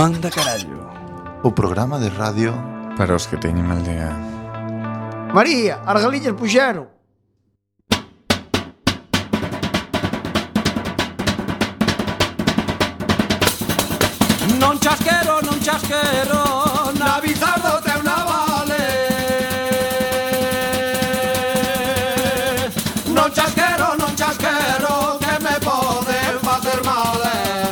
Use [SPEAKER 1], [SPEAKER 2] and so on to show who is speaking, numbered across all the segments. [SPEAKER 1] Manda carallo.
[SPEAKER 2] O programa de radio
[SPEAKER 3] Para os que teñen mal día.
[SPEAKER 4] María, as galiñas puxeron.
[SPEAKER 5] Non chasquero, non chasquero Na bizardo teu navale Non chasquero, non chasquero Que me poden facer mal eh.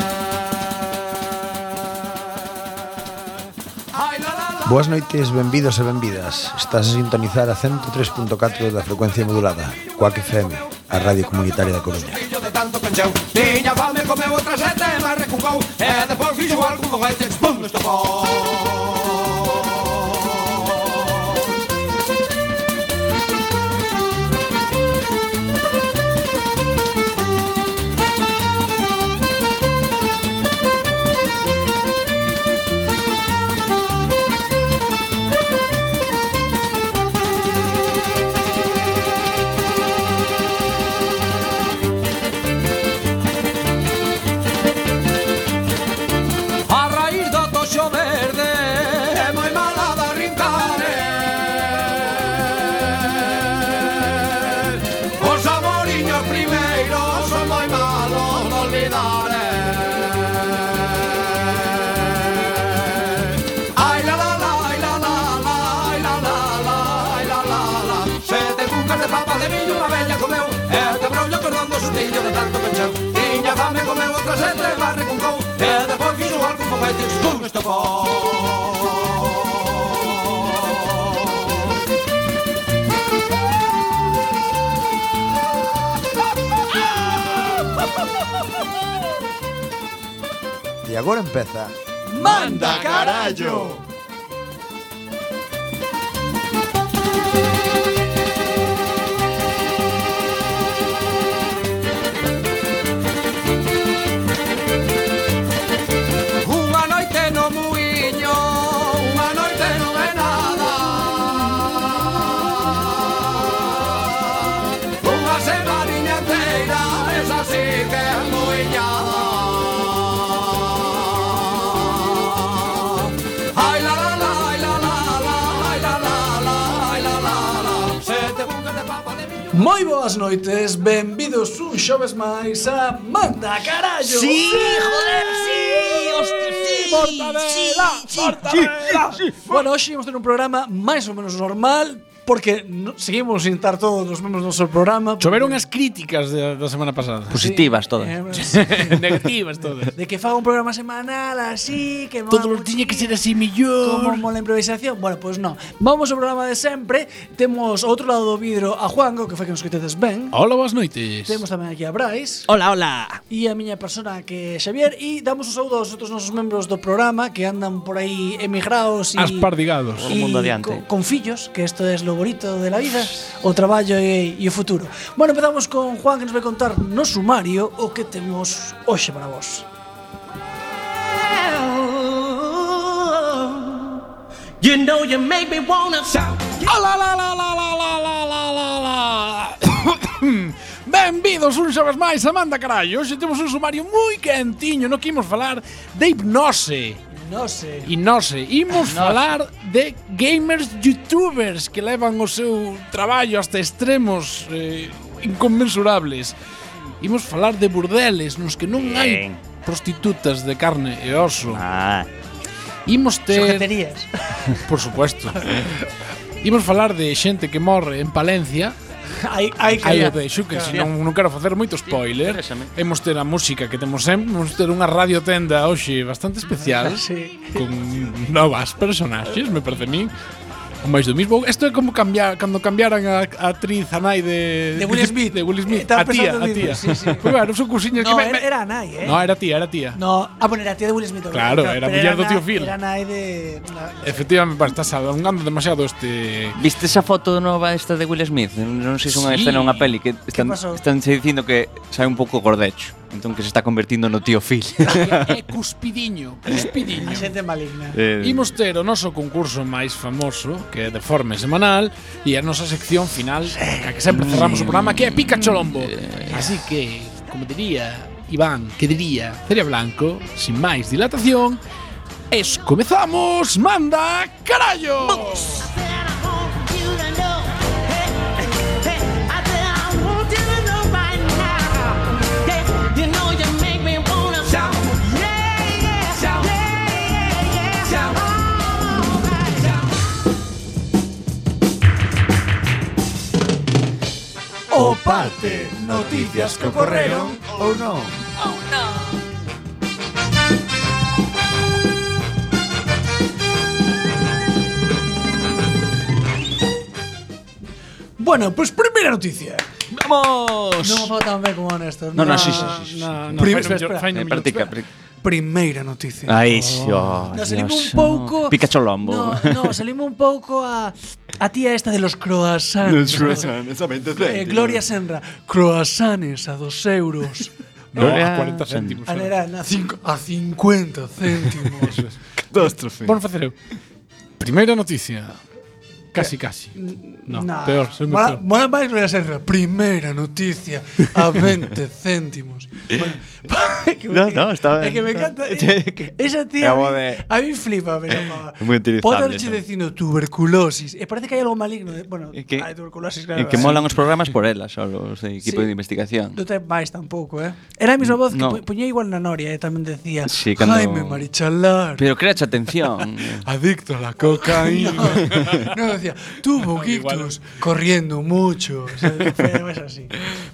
[SPEAKER 5] Ai, la, la, la.
[SPEAKER 6] Boas noites, benvidos e benvidas Estás a sintonizar a 103.4 da frecuencia modulada Coac FM, a radio comunitaria da Coruña
[SPEAKER 5] Fillo de tanto pencheu Tiña fame, comeu outra sete e máis recucou E depois fixo algún foguete Pum, estopou A raíz do toxo verde É moi mala da rincare Os amoriños primeiros Son moi malos de olvidar eh. Ai la la la, ai la la la Ai la la la, ai la la la Sete cucas de papa de millo Unha bella comeu E te brollo cordando sustillo de tanto pecheu Tiña fame comeu outra sete e barre con cou E depois fixo algo con feites Pum, estopou
[SPEAKER 6] E agora empeza
[SPEAKER 5] Manda carallo. Unha noite no muiño, unha noite non é nada. Unha semaninha inteira, esa sí que é muiñada. Ai la la la, ai la la la, ai la la la, ai la la la. Sete bucas de papa de millo.
[SPEAKER 1] Moi boas noites, benvidos un xoves máis a Manda Carallo.
[SPEAKER 7] Sí, joder, sí, hostia, sí, sí, sí,
[SPEAKER 1] Bueno, hoxe imos ter un programa máis ou menos normal porque no, seguimos sin estar todos os mesmos do noso programa.
[SPEAKER 8] Choveron as críticas de, da semana pasada.
[SPEAKER 7] Positivas todas.
[SPEAKER 1] Eh,
[SPEAKER 8] Negativas todas.
[SPEAKER 1] de que faga un programa semanal así, que mola
[SPEAKER 8] Todo tiña que
[SPEAKER 1] muchísimo.
[SPEAKER 8] ser así
[SPEAKER 1] Como
[SPEAKER 8] mellor.
[SPEAKER 1] mola a improvisación? Bueno, pois pues non. Vamos ao programa de sempre. Temos ao outro lado do vidro a Juango, que foi que nos quitedes ben.
[SPEAKER 8] Hola, boas noites.
[SPEAKER 1] Temos tamén aquí a Brais
[SPEAKER 7] Hola, hola.
[SPEAKER 1] e a miña persona que é Xavier e damos o saúdo aos outros nosos membros do programa que andan por aí emigrados e
[SPEAKER 8] Aspardigados.
[SPEAKER 7] Todo o mundo
[SPEAKER 1] y
[SPEAKER 7] adiante.
[SPEAKER 1] co- Con, fillos, que esto es lo bonito de la vida, o traballo e, e o futuro. Bueno, empezamos con Juan que nos vai contar no sumario o que temos hoxe para vos.
[SPEAKER 5] You know you make me wanna shout.
[SPEAKER 8] Hola, la, la, la, la, la, la, la, la, la. Benvidos un xoves máis a Manda Carallo. Hoxe temos un sumario moi quentiño no que imos falar de hipnose.
[SPEAKER 1] No sé.
[SPEAKER 8] E non sei, imos falar de gamers youtubers que levan o seu traballo hasta extremos eh, inconmensurables. Imos falar de burdeles nos que non
[SPEAKER 7] Bien.
[SPEAKER 8] hai prostitutas de carne e oso.
[SPEAKER 7] Ah,
[SPEAKER 8] Imos ter,
[SPEAKER 1] Sujeterías.
[SPEAKER 8] por supuesto. Imos falar de xente que morre en Palencia.
[SPEAKER 1] hai, hai que...
[SPEAKER 8] Aí o deixo que se non, non quero facer moito spoiler.
[SPEAKER 7] Interésame.
[SPEAKER 8] Imos ter a música que temos sempre, imos ter unha radio tenda hoxe bastante especial
[SPEAKER 1] Sí.
[SPEAKER 8] con novas personaxes, me parece a mí. O máis do mismo. Isto é como cambiar cando cambiaran a, a actriz a nai de
[SPEAKER 1] De Will Smith.
[SPEAKER 8] de Will Smith.
[SPEAKER 1] Estaba
[SPEAKER 8] a tía,
[SPEAKER 1] pensando
[SPEAKER 8] a
[SPEAKER 1] en
[SPEAKER 8] tía.
[SPEAKER 1] mismo, sí, sí.
[SPEAKER 8] Pois bueno, son cousiñas que
[SPEAKER 1] No,
[SPEAKER 8] me,
[SPEAKER 1] era,
[SPEAKER 8] me-
[SPEAKER 1] era a nai, eh?
[SPEAKER 8] No, era tía, era tía.
[SPEAKER 1] No, ah, bueno, era a tía de Will Smith. obviamente,
[SPEAKER 8] Claro,
[SPEAKER 1] no,
[SPEAKER 8] era a
[SPEAKER 1] pero
[SPEAKER 8] muller do
[SPEAKER 1] na-
[SPEAKER 8] tío Phil.
[SPEAKER 1] Era a nai de... na-
[SPEAKER 8] Efectivamente, pá, estás alongando demasiado este
[SPEAKER 7] Viste esa foto nova esta de Will Smith? Non sei se é unha
[SPEAKER 8] Sí.
[SPEAKER 7] escena ou unha peli que están,
[SPEAKER 1] pasou?
[SPEAKER 7] están se dicindo que sai un pouco gordecho.
[SPEAKER 9] Entón que se está convertindo no tío Phil.
[SPEAKER 1] E,
[SPEAKER 8] É cuspidiño, cuspidiño.
[SPEAKER 1] A xente maligna.
[SPEAKER 9] eh,
[SPEAKER 8] Imos ter o noso concurso máis famoso Que é de forma semanal E a nosa sección final A que sempre cerramos o programa Que é Pica Cholombo
[SPEAKER 9] Eh.
[SPEAKER 8] Así que, como diría Iván Que diría Celia Blanco Sin máis dilatación Es comezamos Manda Carallo
[SPEAKER 2] O parte, noticias que ocorreron
[SPEAKER 4] ou non?
[SPEAKER 1] Bueno, pues primera noticia.
[SPEAKER 9] Vamos!
[SPEAKER 1] Non me falo tan ben como honesto.
[SPEAKER 9] No, no, sí, sí,
[SPEAKER 1] Ah,
[SPEAKER 9] sí, sí.
[SPEAKER 8] Na- na-
[SPEAKER 1] Prim-
[SPEAKER 8] fai no
[SPEAKER 1] espera,
[SPEAKER 8] millor- fai no
[SPEAKER 9] Eh,
[SPEAKER 8] millor.
[SPEAKER 9] practica,
[SPEAKER 8] Espera.
[SPEAKER 9] practica.
[SPEAKER 1] Primeira noticia.
[SPEAKER 9] Ai, xo,
[SPEAKER 1] No, salimos un
[SPEAKER 9] Dios,
[SPEAKER 1] pouco.
[SPEAKER 9] no. Pica Cholombo.
[SPEAKER 1] No, no, salimos un pouco a a tía esta de los croissants. Eh, Gloria Senra. Croissants a dos euros.
[SPEAKER 8] No, Ah, a
[SPEAKER 9] Gloria-
[SPEAKER 8] 40 céntimos
[SPEAKER 1] A Nerán, a, cinco, a 50 céntimos.
[SPEAKER 3] Catástrofe.
[SPEAKER 8] Vamos facer eu Primeira noticia Casi, casi No,
[SPEAKER 1] Nah.
[SPEAKER 8] peor, soy moi
[SPEAKER 1] Mola-
[SPEAKER 8] peor
[SPEAKER 1] Mola máis Gloria Senra. Primeira noticia a 20 céntimos. Bueno, que me-
[SPEAKER 9] No, no, está
[SPEAKER 1] É
[SPEAKER 9] ben.
[SPEAKER 1] que me encanta.
[SPEAKER 9] Sí, que-
[SPEAKER 1] Esa tía
[SPEAKER 9] É
[SPEAKER 1] a
[SPEAKER 9] bo
[SPEAKER 1] mí-
[SPEAKER 9] de-
[SPEAKER 1] a mí flipa, me llamaba.
[SPEAKER 9] Muy utilizable,
[SPEAKER 1] Poderche
[SPEAKER 9] eso.
[SPEAKER 1] dicindo tuberculosis. E parece que hai algo maligno. eh, Bueno,
[SPEAKER 9] É que-
[SPEAKER 1] hai tuberculosis, claro.
[SPEAKER 9] E que
[SPEAKER 1] sí.
[SPEAKER 9] molan os programas por elas, só os de equipo
[SPEAKER 1] Sí.
[SPEAKER 9] de investigación.
[SPEAKER 1] Non ten máis tampouco, eh? Era a mesma voz que
[SPEAKER 9] Mm, No.
[SPEAKER 1] pu- puñía igual na Noria, eh? tamén decía
[SPEAKER 9] Sí, cando-
[SPEAKER 1] Jaime Marichalar,
[SPEAKER 9] Pero créache atención.
[SPEAKER 1] adicto a la cocaína. no, decía, tuvo guitos corriendo mucho. O sea, fue máis así.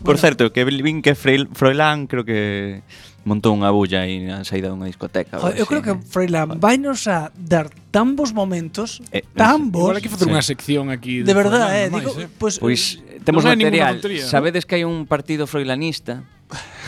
[SPEAKER 9] Por certo, que vin que Freil- Froilán creo que montou unha bulla aí na saída dunha discoteca.
[SPEAKER 1] Joder, Ah, eu creo que Freiland vainos a dar tan bons momentos,
[SPEAKER 9] Eh,
[SPEAKER 1] tan bons,
[SPEAKER 8] Igual hai que facer
[SPEAKER 9] Sí.
[SPEAKER 8] unha sección aquí
[SPEAKER 1] de verdad,
[SPEAKER 8] Froilán,
[SPEAKER 1] eh,
[SPEAKER 8] máis,
[SPEAKER 1] digo, pues,
[SPEAKER 9] Pois
[SPEAKER 1] eh,
[SPEAKER 9] temos
[SPEAKER 8] Non é ninguna
[SPEAKER 9] material.
[SPEAKER 8] tontería.
[SPEAKER 9] Sabedes que hai un partido froilanista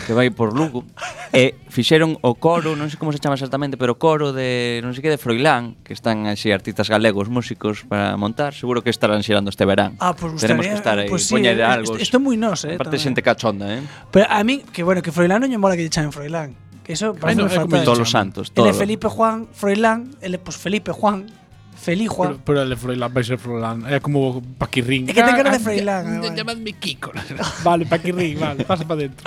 [SPEAKER 9] que vai por Lugo e fixeron o coro, non sei como se chama exactamente, pero o coro de non sei que de Froilán, que están así artistas galegos, músicos para montar, seguro que estarán xerando este verán.
[SPEAKER 1] Ah, pois
[SPEAKER 9] Tenemos
[SPEAKER 1] gustaría-
[SPEAKER 9] que estar aí,
[SPEAKER 1] pois sí, eh,
[SPEAKER 9] poñer algo.
[SPEAKER 1] isto- isto é moi nos, eh,
[SPEAKER 9] Aparte
[SPEAKER 1] tamén.
[SPEAKER 9] xente cachonda, eh.
[SPEAKER 1] pero a mí, que bueno, que Froilán non lle mola que lle chamen Froilán. Que eso parece no,
[SPEAKER 8] no, é como
[SPEAKER 1] fatal.
[SPEAKER 9] Todos os santos,
[SPEAKER 1] Ele é
[SPEAKER 9] todo.
[SPEAKER 1] Felipe Juan, Froilán, ele é, pois pues, Felipe Juan, Feli
[SPEAKER 8] Pero,
[SPEAKER 1] Juan.
[SPEAKER 8] pero el de Froilán vai ser Froilán. É como Paquirrín.
[SPEAKER 1] É que ten cara de Froilán, ademais.
[SPEAKER 8] Llamadme Kiko. vale, Paquirrín, vale. Pasa para dentro.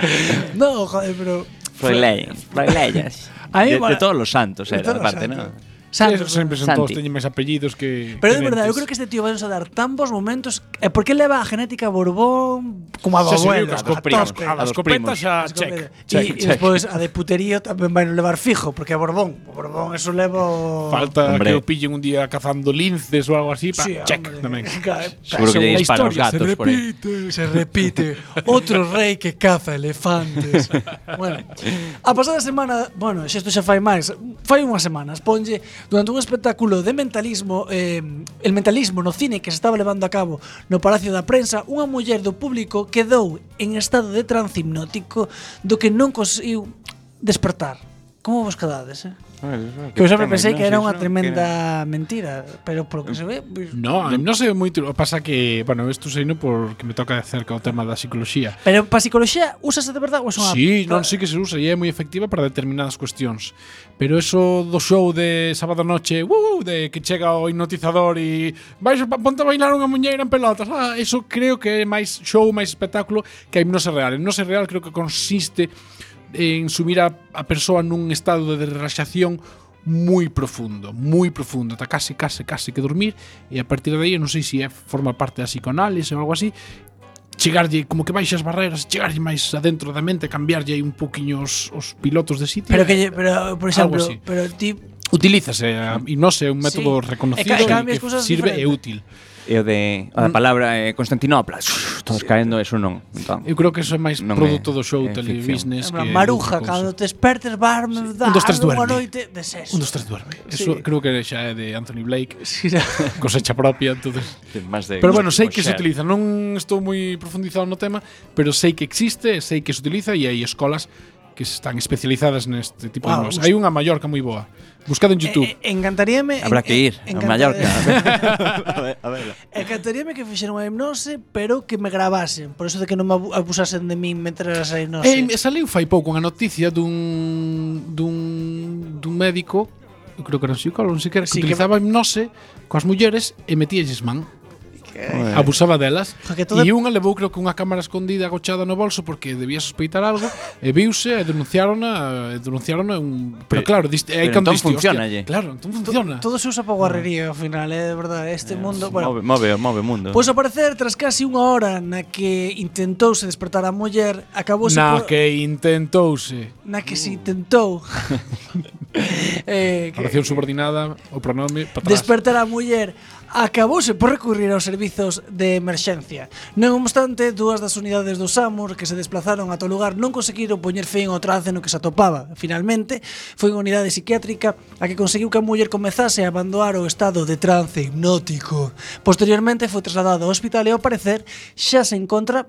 [SPEAKER 1] No, joder, pero
[SPEAKER 9] Froilán, Froilayas.
[SPEAKER 1] A mí
[SPEAKER 9] De,
[SPEAKER 1] mola-
[SPEAKER 9] de todos los santos
[SPEAKER 1] De
[SPEAKER 9] era,
[SPEAKER 1] todos los
[SPEAKER 9] aparte,
[SPEAKER 1] santos.
[SPEAKER 9] ¿no?
[SPEAKER 1] Santos,
[SPEAKER 8] Esos sempre son
[SPEAKER 9] Santi.
[SPEAKER 8] todos, teñen máis apellidos que...
[SPEAKER 1] Pero de
[SPEAKER 8] que
[SPEAKER 1] verdad, yo
[SPEAKER 8] dentes.
[SPEAKER 1] creo que este tío va a dar tan bons momentos. Eh, ¿Por qué le va a genética Borbón como a
[SPEAKER 8] Xa se viu
[SPEAKER 1] abuelo?
[SPEAKER 8] que as
[SPEAKER 1] a
[SPEAKER 8] coprimas,
[SPEAKER 1] tope?
[SPEAKER 8] a
[SPEAKER 9] a
[SPEAKER 8] dos
[SPEAKER 9] dos
[SPEAKER 8] copetas
[SPEAKER 9] primos.
[SPEAKER 8] xa
[SPEAKER 1] As
[SPEAKER 8] check.
[SPEAKER 1] coprimas.
[SPEAKER 9] check,
[SPEAKER 1] Y- y
[SPEAKER 9] check.
[SPEAKER 1] después a de puterío también van a levar fijo, porque a Borbón, o Borbón eso levo
[SPEAKER 8] Falta
[SPEAKER 9] Hombre.
[SPEAKER 8] que o pillen un día cazando linces ou algo así, pa,
[SPEAKER 1] Sí,
[SPEAKER 8] check
[SPEAKER 1] hombre.
[SPEAKER 8] tamén.
[SPEAKER 1] Claro,
[SPEAKER 9] Seguro que
[SPEAKER 1] según la
[SPEAKER 9] lle dispara os
[SPEAKER 1] historia.
[SPEAKER 9] gatos por aí.
[SPEAKER 1] Se repite, otro rey que caza elefantes. bueno, a pasada semana, bueno, xa isto xa fai máis, fai unhas semanas, ponlle durante un espectáculo de mentalismo, eh, el mentalismo no cine que se estaba levando a cabo no Palacio da Prensa, unha muller do público quedou en estado de trance hipnótico do que non conseguiu despertar. Como vos quedades, eh? Que eu sempre pensei que era unha tremenda mentira, pero polo que se ve, pois,
[SPEAKER 8] No, non sei moito, o pasa que, bueno, isto sei non porque me toca de cerca o tema da psicología.
[SPEAKER 1] Pero para psicología, usase de verdad ou é unha
[SPEAKER 8] Sí, non sei que se usa e é moi efectiva para determinadas cuestións. Pero eso do show de sábado noche, uh, de que chega o hipnotizador e vais a ponte a bailar unha muñeira en pelotas. Ah, eso creo que é máis show, máis espectáculo que a hipnose real. A hipnose real creo que consiste en subir a, a persoa nun estado de relaxación moi profundo, moi profundo, ata casi, casi, casi que dormir, e a partir de aí, eu non sei se é forma parte da psicoanálise ou algo así, chegarlle como que baixas barreras, chegarlle máis adentro da mente, cambiarlle aí un poquinho os, os pilotos de sitio.
[SPEAKER 1] Pero que lle- pero por exemplo,
[SPEAKER 8] así.
[SPEAKER 1] pero ti
[SPEAKER 8] utilízase eh, a hipnose, é un método
[SPEAKER 1] Sí.
[SPEAKER 8] reconocido
[SPEAKER 1] E ca-
[SPEAKER 8] e
[SPEAKER 1] cambias
[SPEAKER 8] que
[SPEAKER 1] cousas
[SPEAKER 8] sirve e
[SPEAKER 1] diferentes.
[SPEAKER 8] útil.
[SPEAKER 9] E o de
[SPEAKER 8] Mm.
[SPEAKER 9] a palabra eh, Constantinopla, todos caendo, eso non. Entón.
[SPEAKER 8] Eu creo que eso é máis
[SPEAKER 9] Non
[SPEAKER 8] produto
[SPEAKER 9] é-
[SPEAKER 8] do show
[SPEAKER 9] é
[SPEAKER 8] telebusiness que
[SPEAKER 1] Maruja,
[SPEAKER 8] outra
[SPEAKER 1] cando te
[SPEAKER 8] cousa.
[SPEAKER 1] despertes, bar me dar
[SPEAKER 8] Un, dos, tres,
[SPEAKER 1] unha
[SPEAKER 8] duerme.
[SPEAKER 1] noite de sexo.
[SPEAKER 8] Un dos tres duerme.
[SPEAKER 1] Sí.
[SPEAKER 8] Eso creo que xa é de Anthony Blake,
[SPEAKER 1] Sí, xa.
[SPEAKER 8] cosecha propia, entonces.
[SPEAKER 9] Más de
[SPEAKER 8] Pero bueno, sei que se
[SPEAKER 9] coxer.
[SPEAKER 8] utiliza, non estou moi profundizado no tema, pero sei que existe, sei que se utiliza e hai escolas que están especializadas neste tipo
[SPEAKER 1] Wow,
[SPEAKER 8] de música.
[SPEAKER 1] bus-
[SPEAKER 8] Hai unha en Mallorca moi boa. Buscade en YouTube.
[SPEAKER 1] Eh, eh, encantaríame...
[SPEAKER 9] Habrá que ir a
[SPEAKER 1] encanta-
[SPEAKER 9] Mallorca.
[SPEAKER 1] Encantaríame que fixeran unha hipnose, pero que me gravasen. Por eso de que non me abu- abusasen de min mentras a hipnose.
[SPEAKER 8] Eh, me saliu fai pouco unha noticia dun dun dun médico, eu creo que era un psicólogo, non sei que, era,
[SPEAKER 1] Sí,
[SPEAKER 8] que
[SPEAKER 1] que-
[SPEAKER 8] utilizaba hipnose coas mulleres e metíalles man. Abusaba delas
[SPEAKER 1] Jo, Eh. que todo-
[SPEAKER 8] E unha levou creo que unha cámara escondida Agochada no bolso porque debía sospeitar algo E viuse e denunciarona e denunciarona un... Pero claro, dist...
[SPEAKER 9] pero
[SPEAKER 8] cando
[SPEAKER 9] entón
[SPEAKER 8] diste, hostia,
[SPEAKER 9] funciónalle.
[SPEAKER 8] Claro, entón funciona Ah.
[SPEAKER 1] Todo se usa para guarrería, ao final, eh, de verdade. Este mundo... Bueno,
[SPEAKER 9] Move, move, move o mundo.
[SPEAKER 1] Pois
[SPEAKER 8] Pues-
[SPEAKER 1] ao parecer, tras casi unha hora na que intentouse despertar a muller, acabouse
[SPEAKER 8] Na
[SPEAKER 1] por...
[SPEAKER 8] que intentouse
[SPEAKER 1] na que se intentou eh, que
[SPEAKER 8] Oración subordinada O pronome para atrás.
[SPEAKER 1] despertar a muller acabouse por recurrir aos servizos de emerxencia. Non obstante, dúas das unidades do SAMUR que se desplazaron a todo lugar non conseguiron poñer fin ao trance no que se atopaba. Finalmente, foi unha unidade psiquiátrica a que conseguiu que a muller comezase a abandonar o estado de trance hipnótico. Posteriormente foi trasladado ao hospital e ao parecer xa se encontra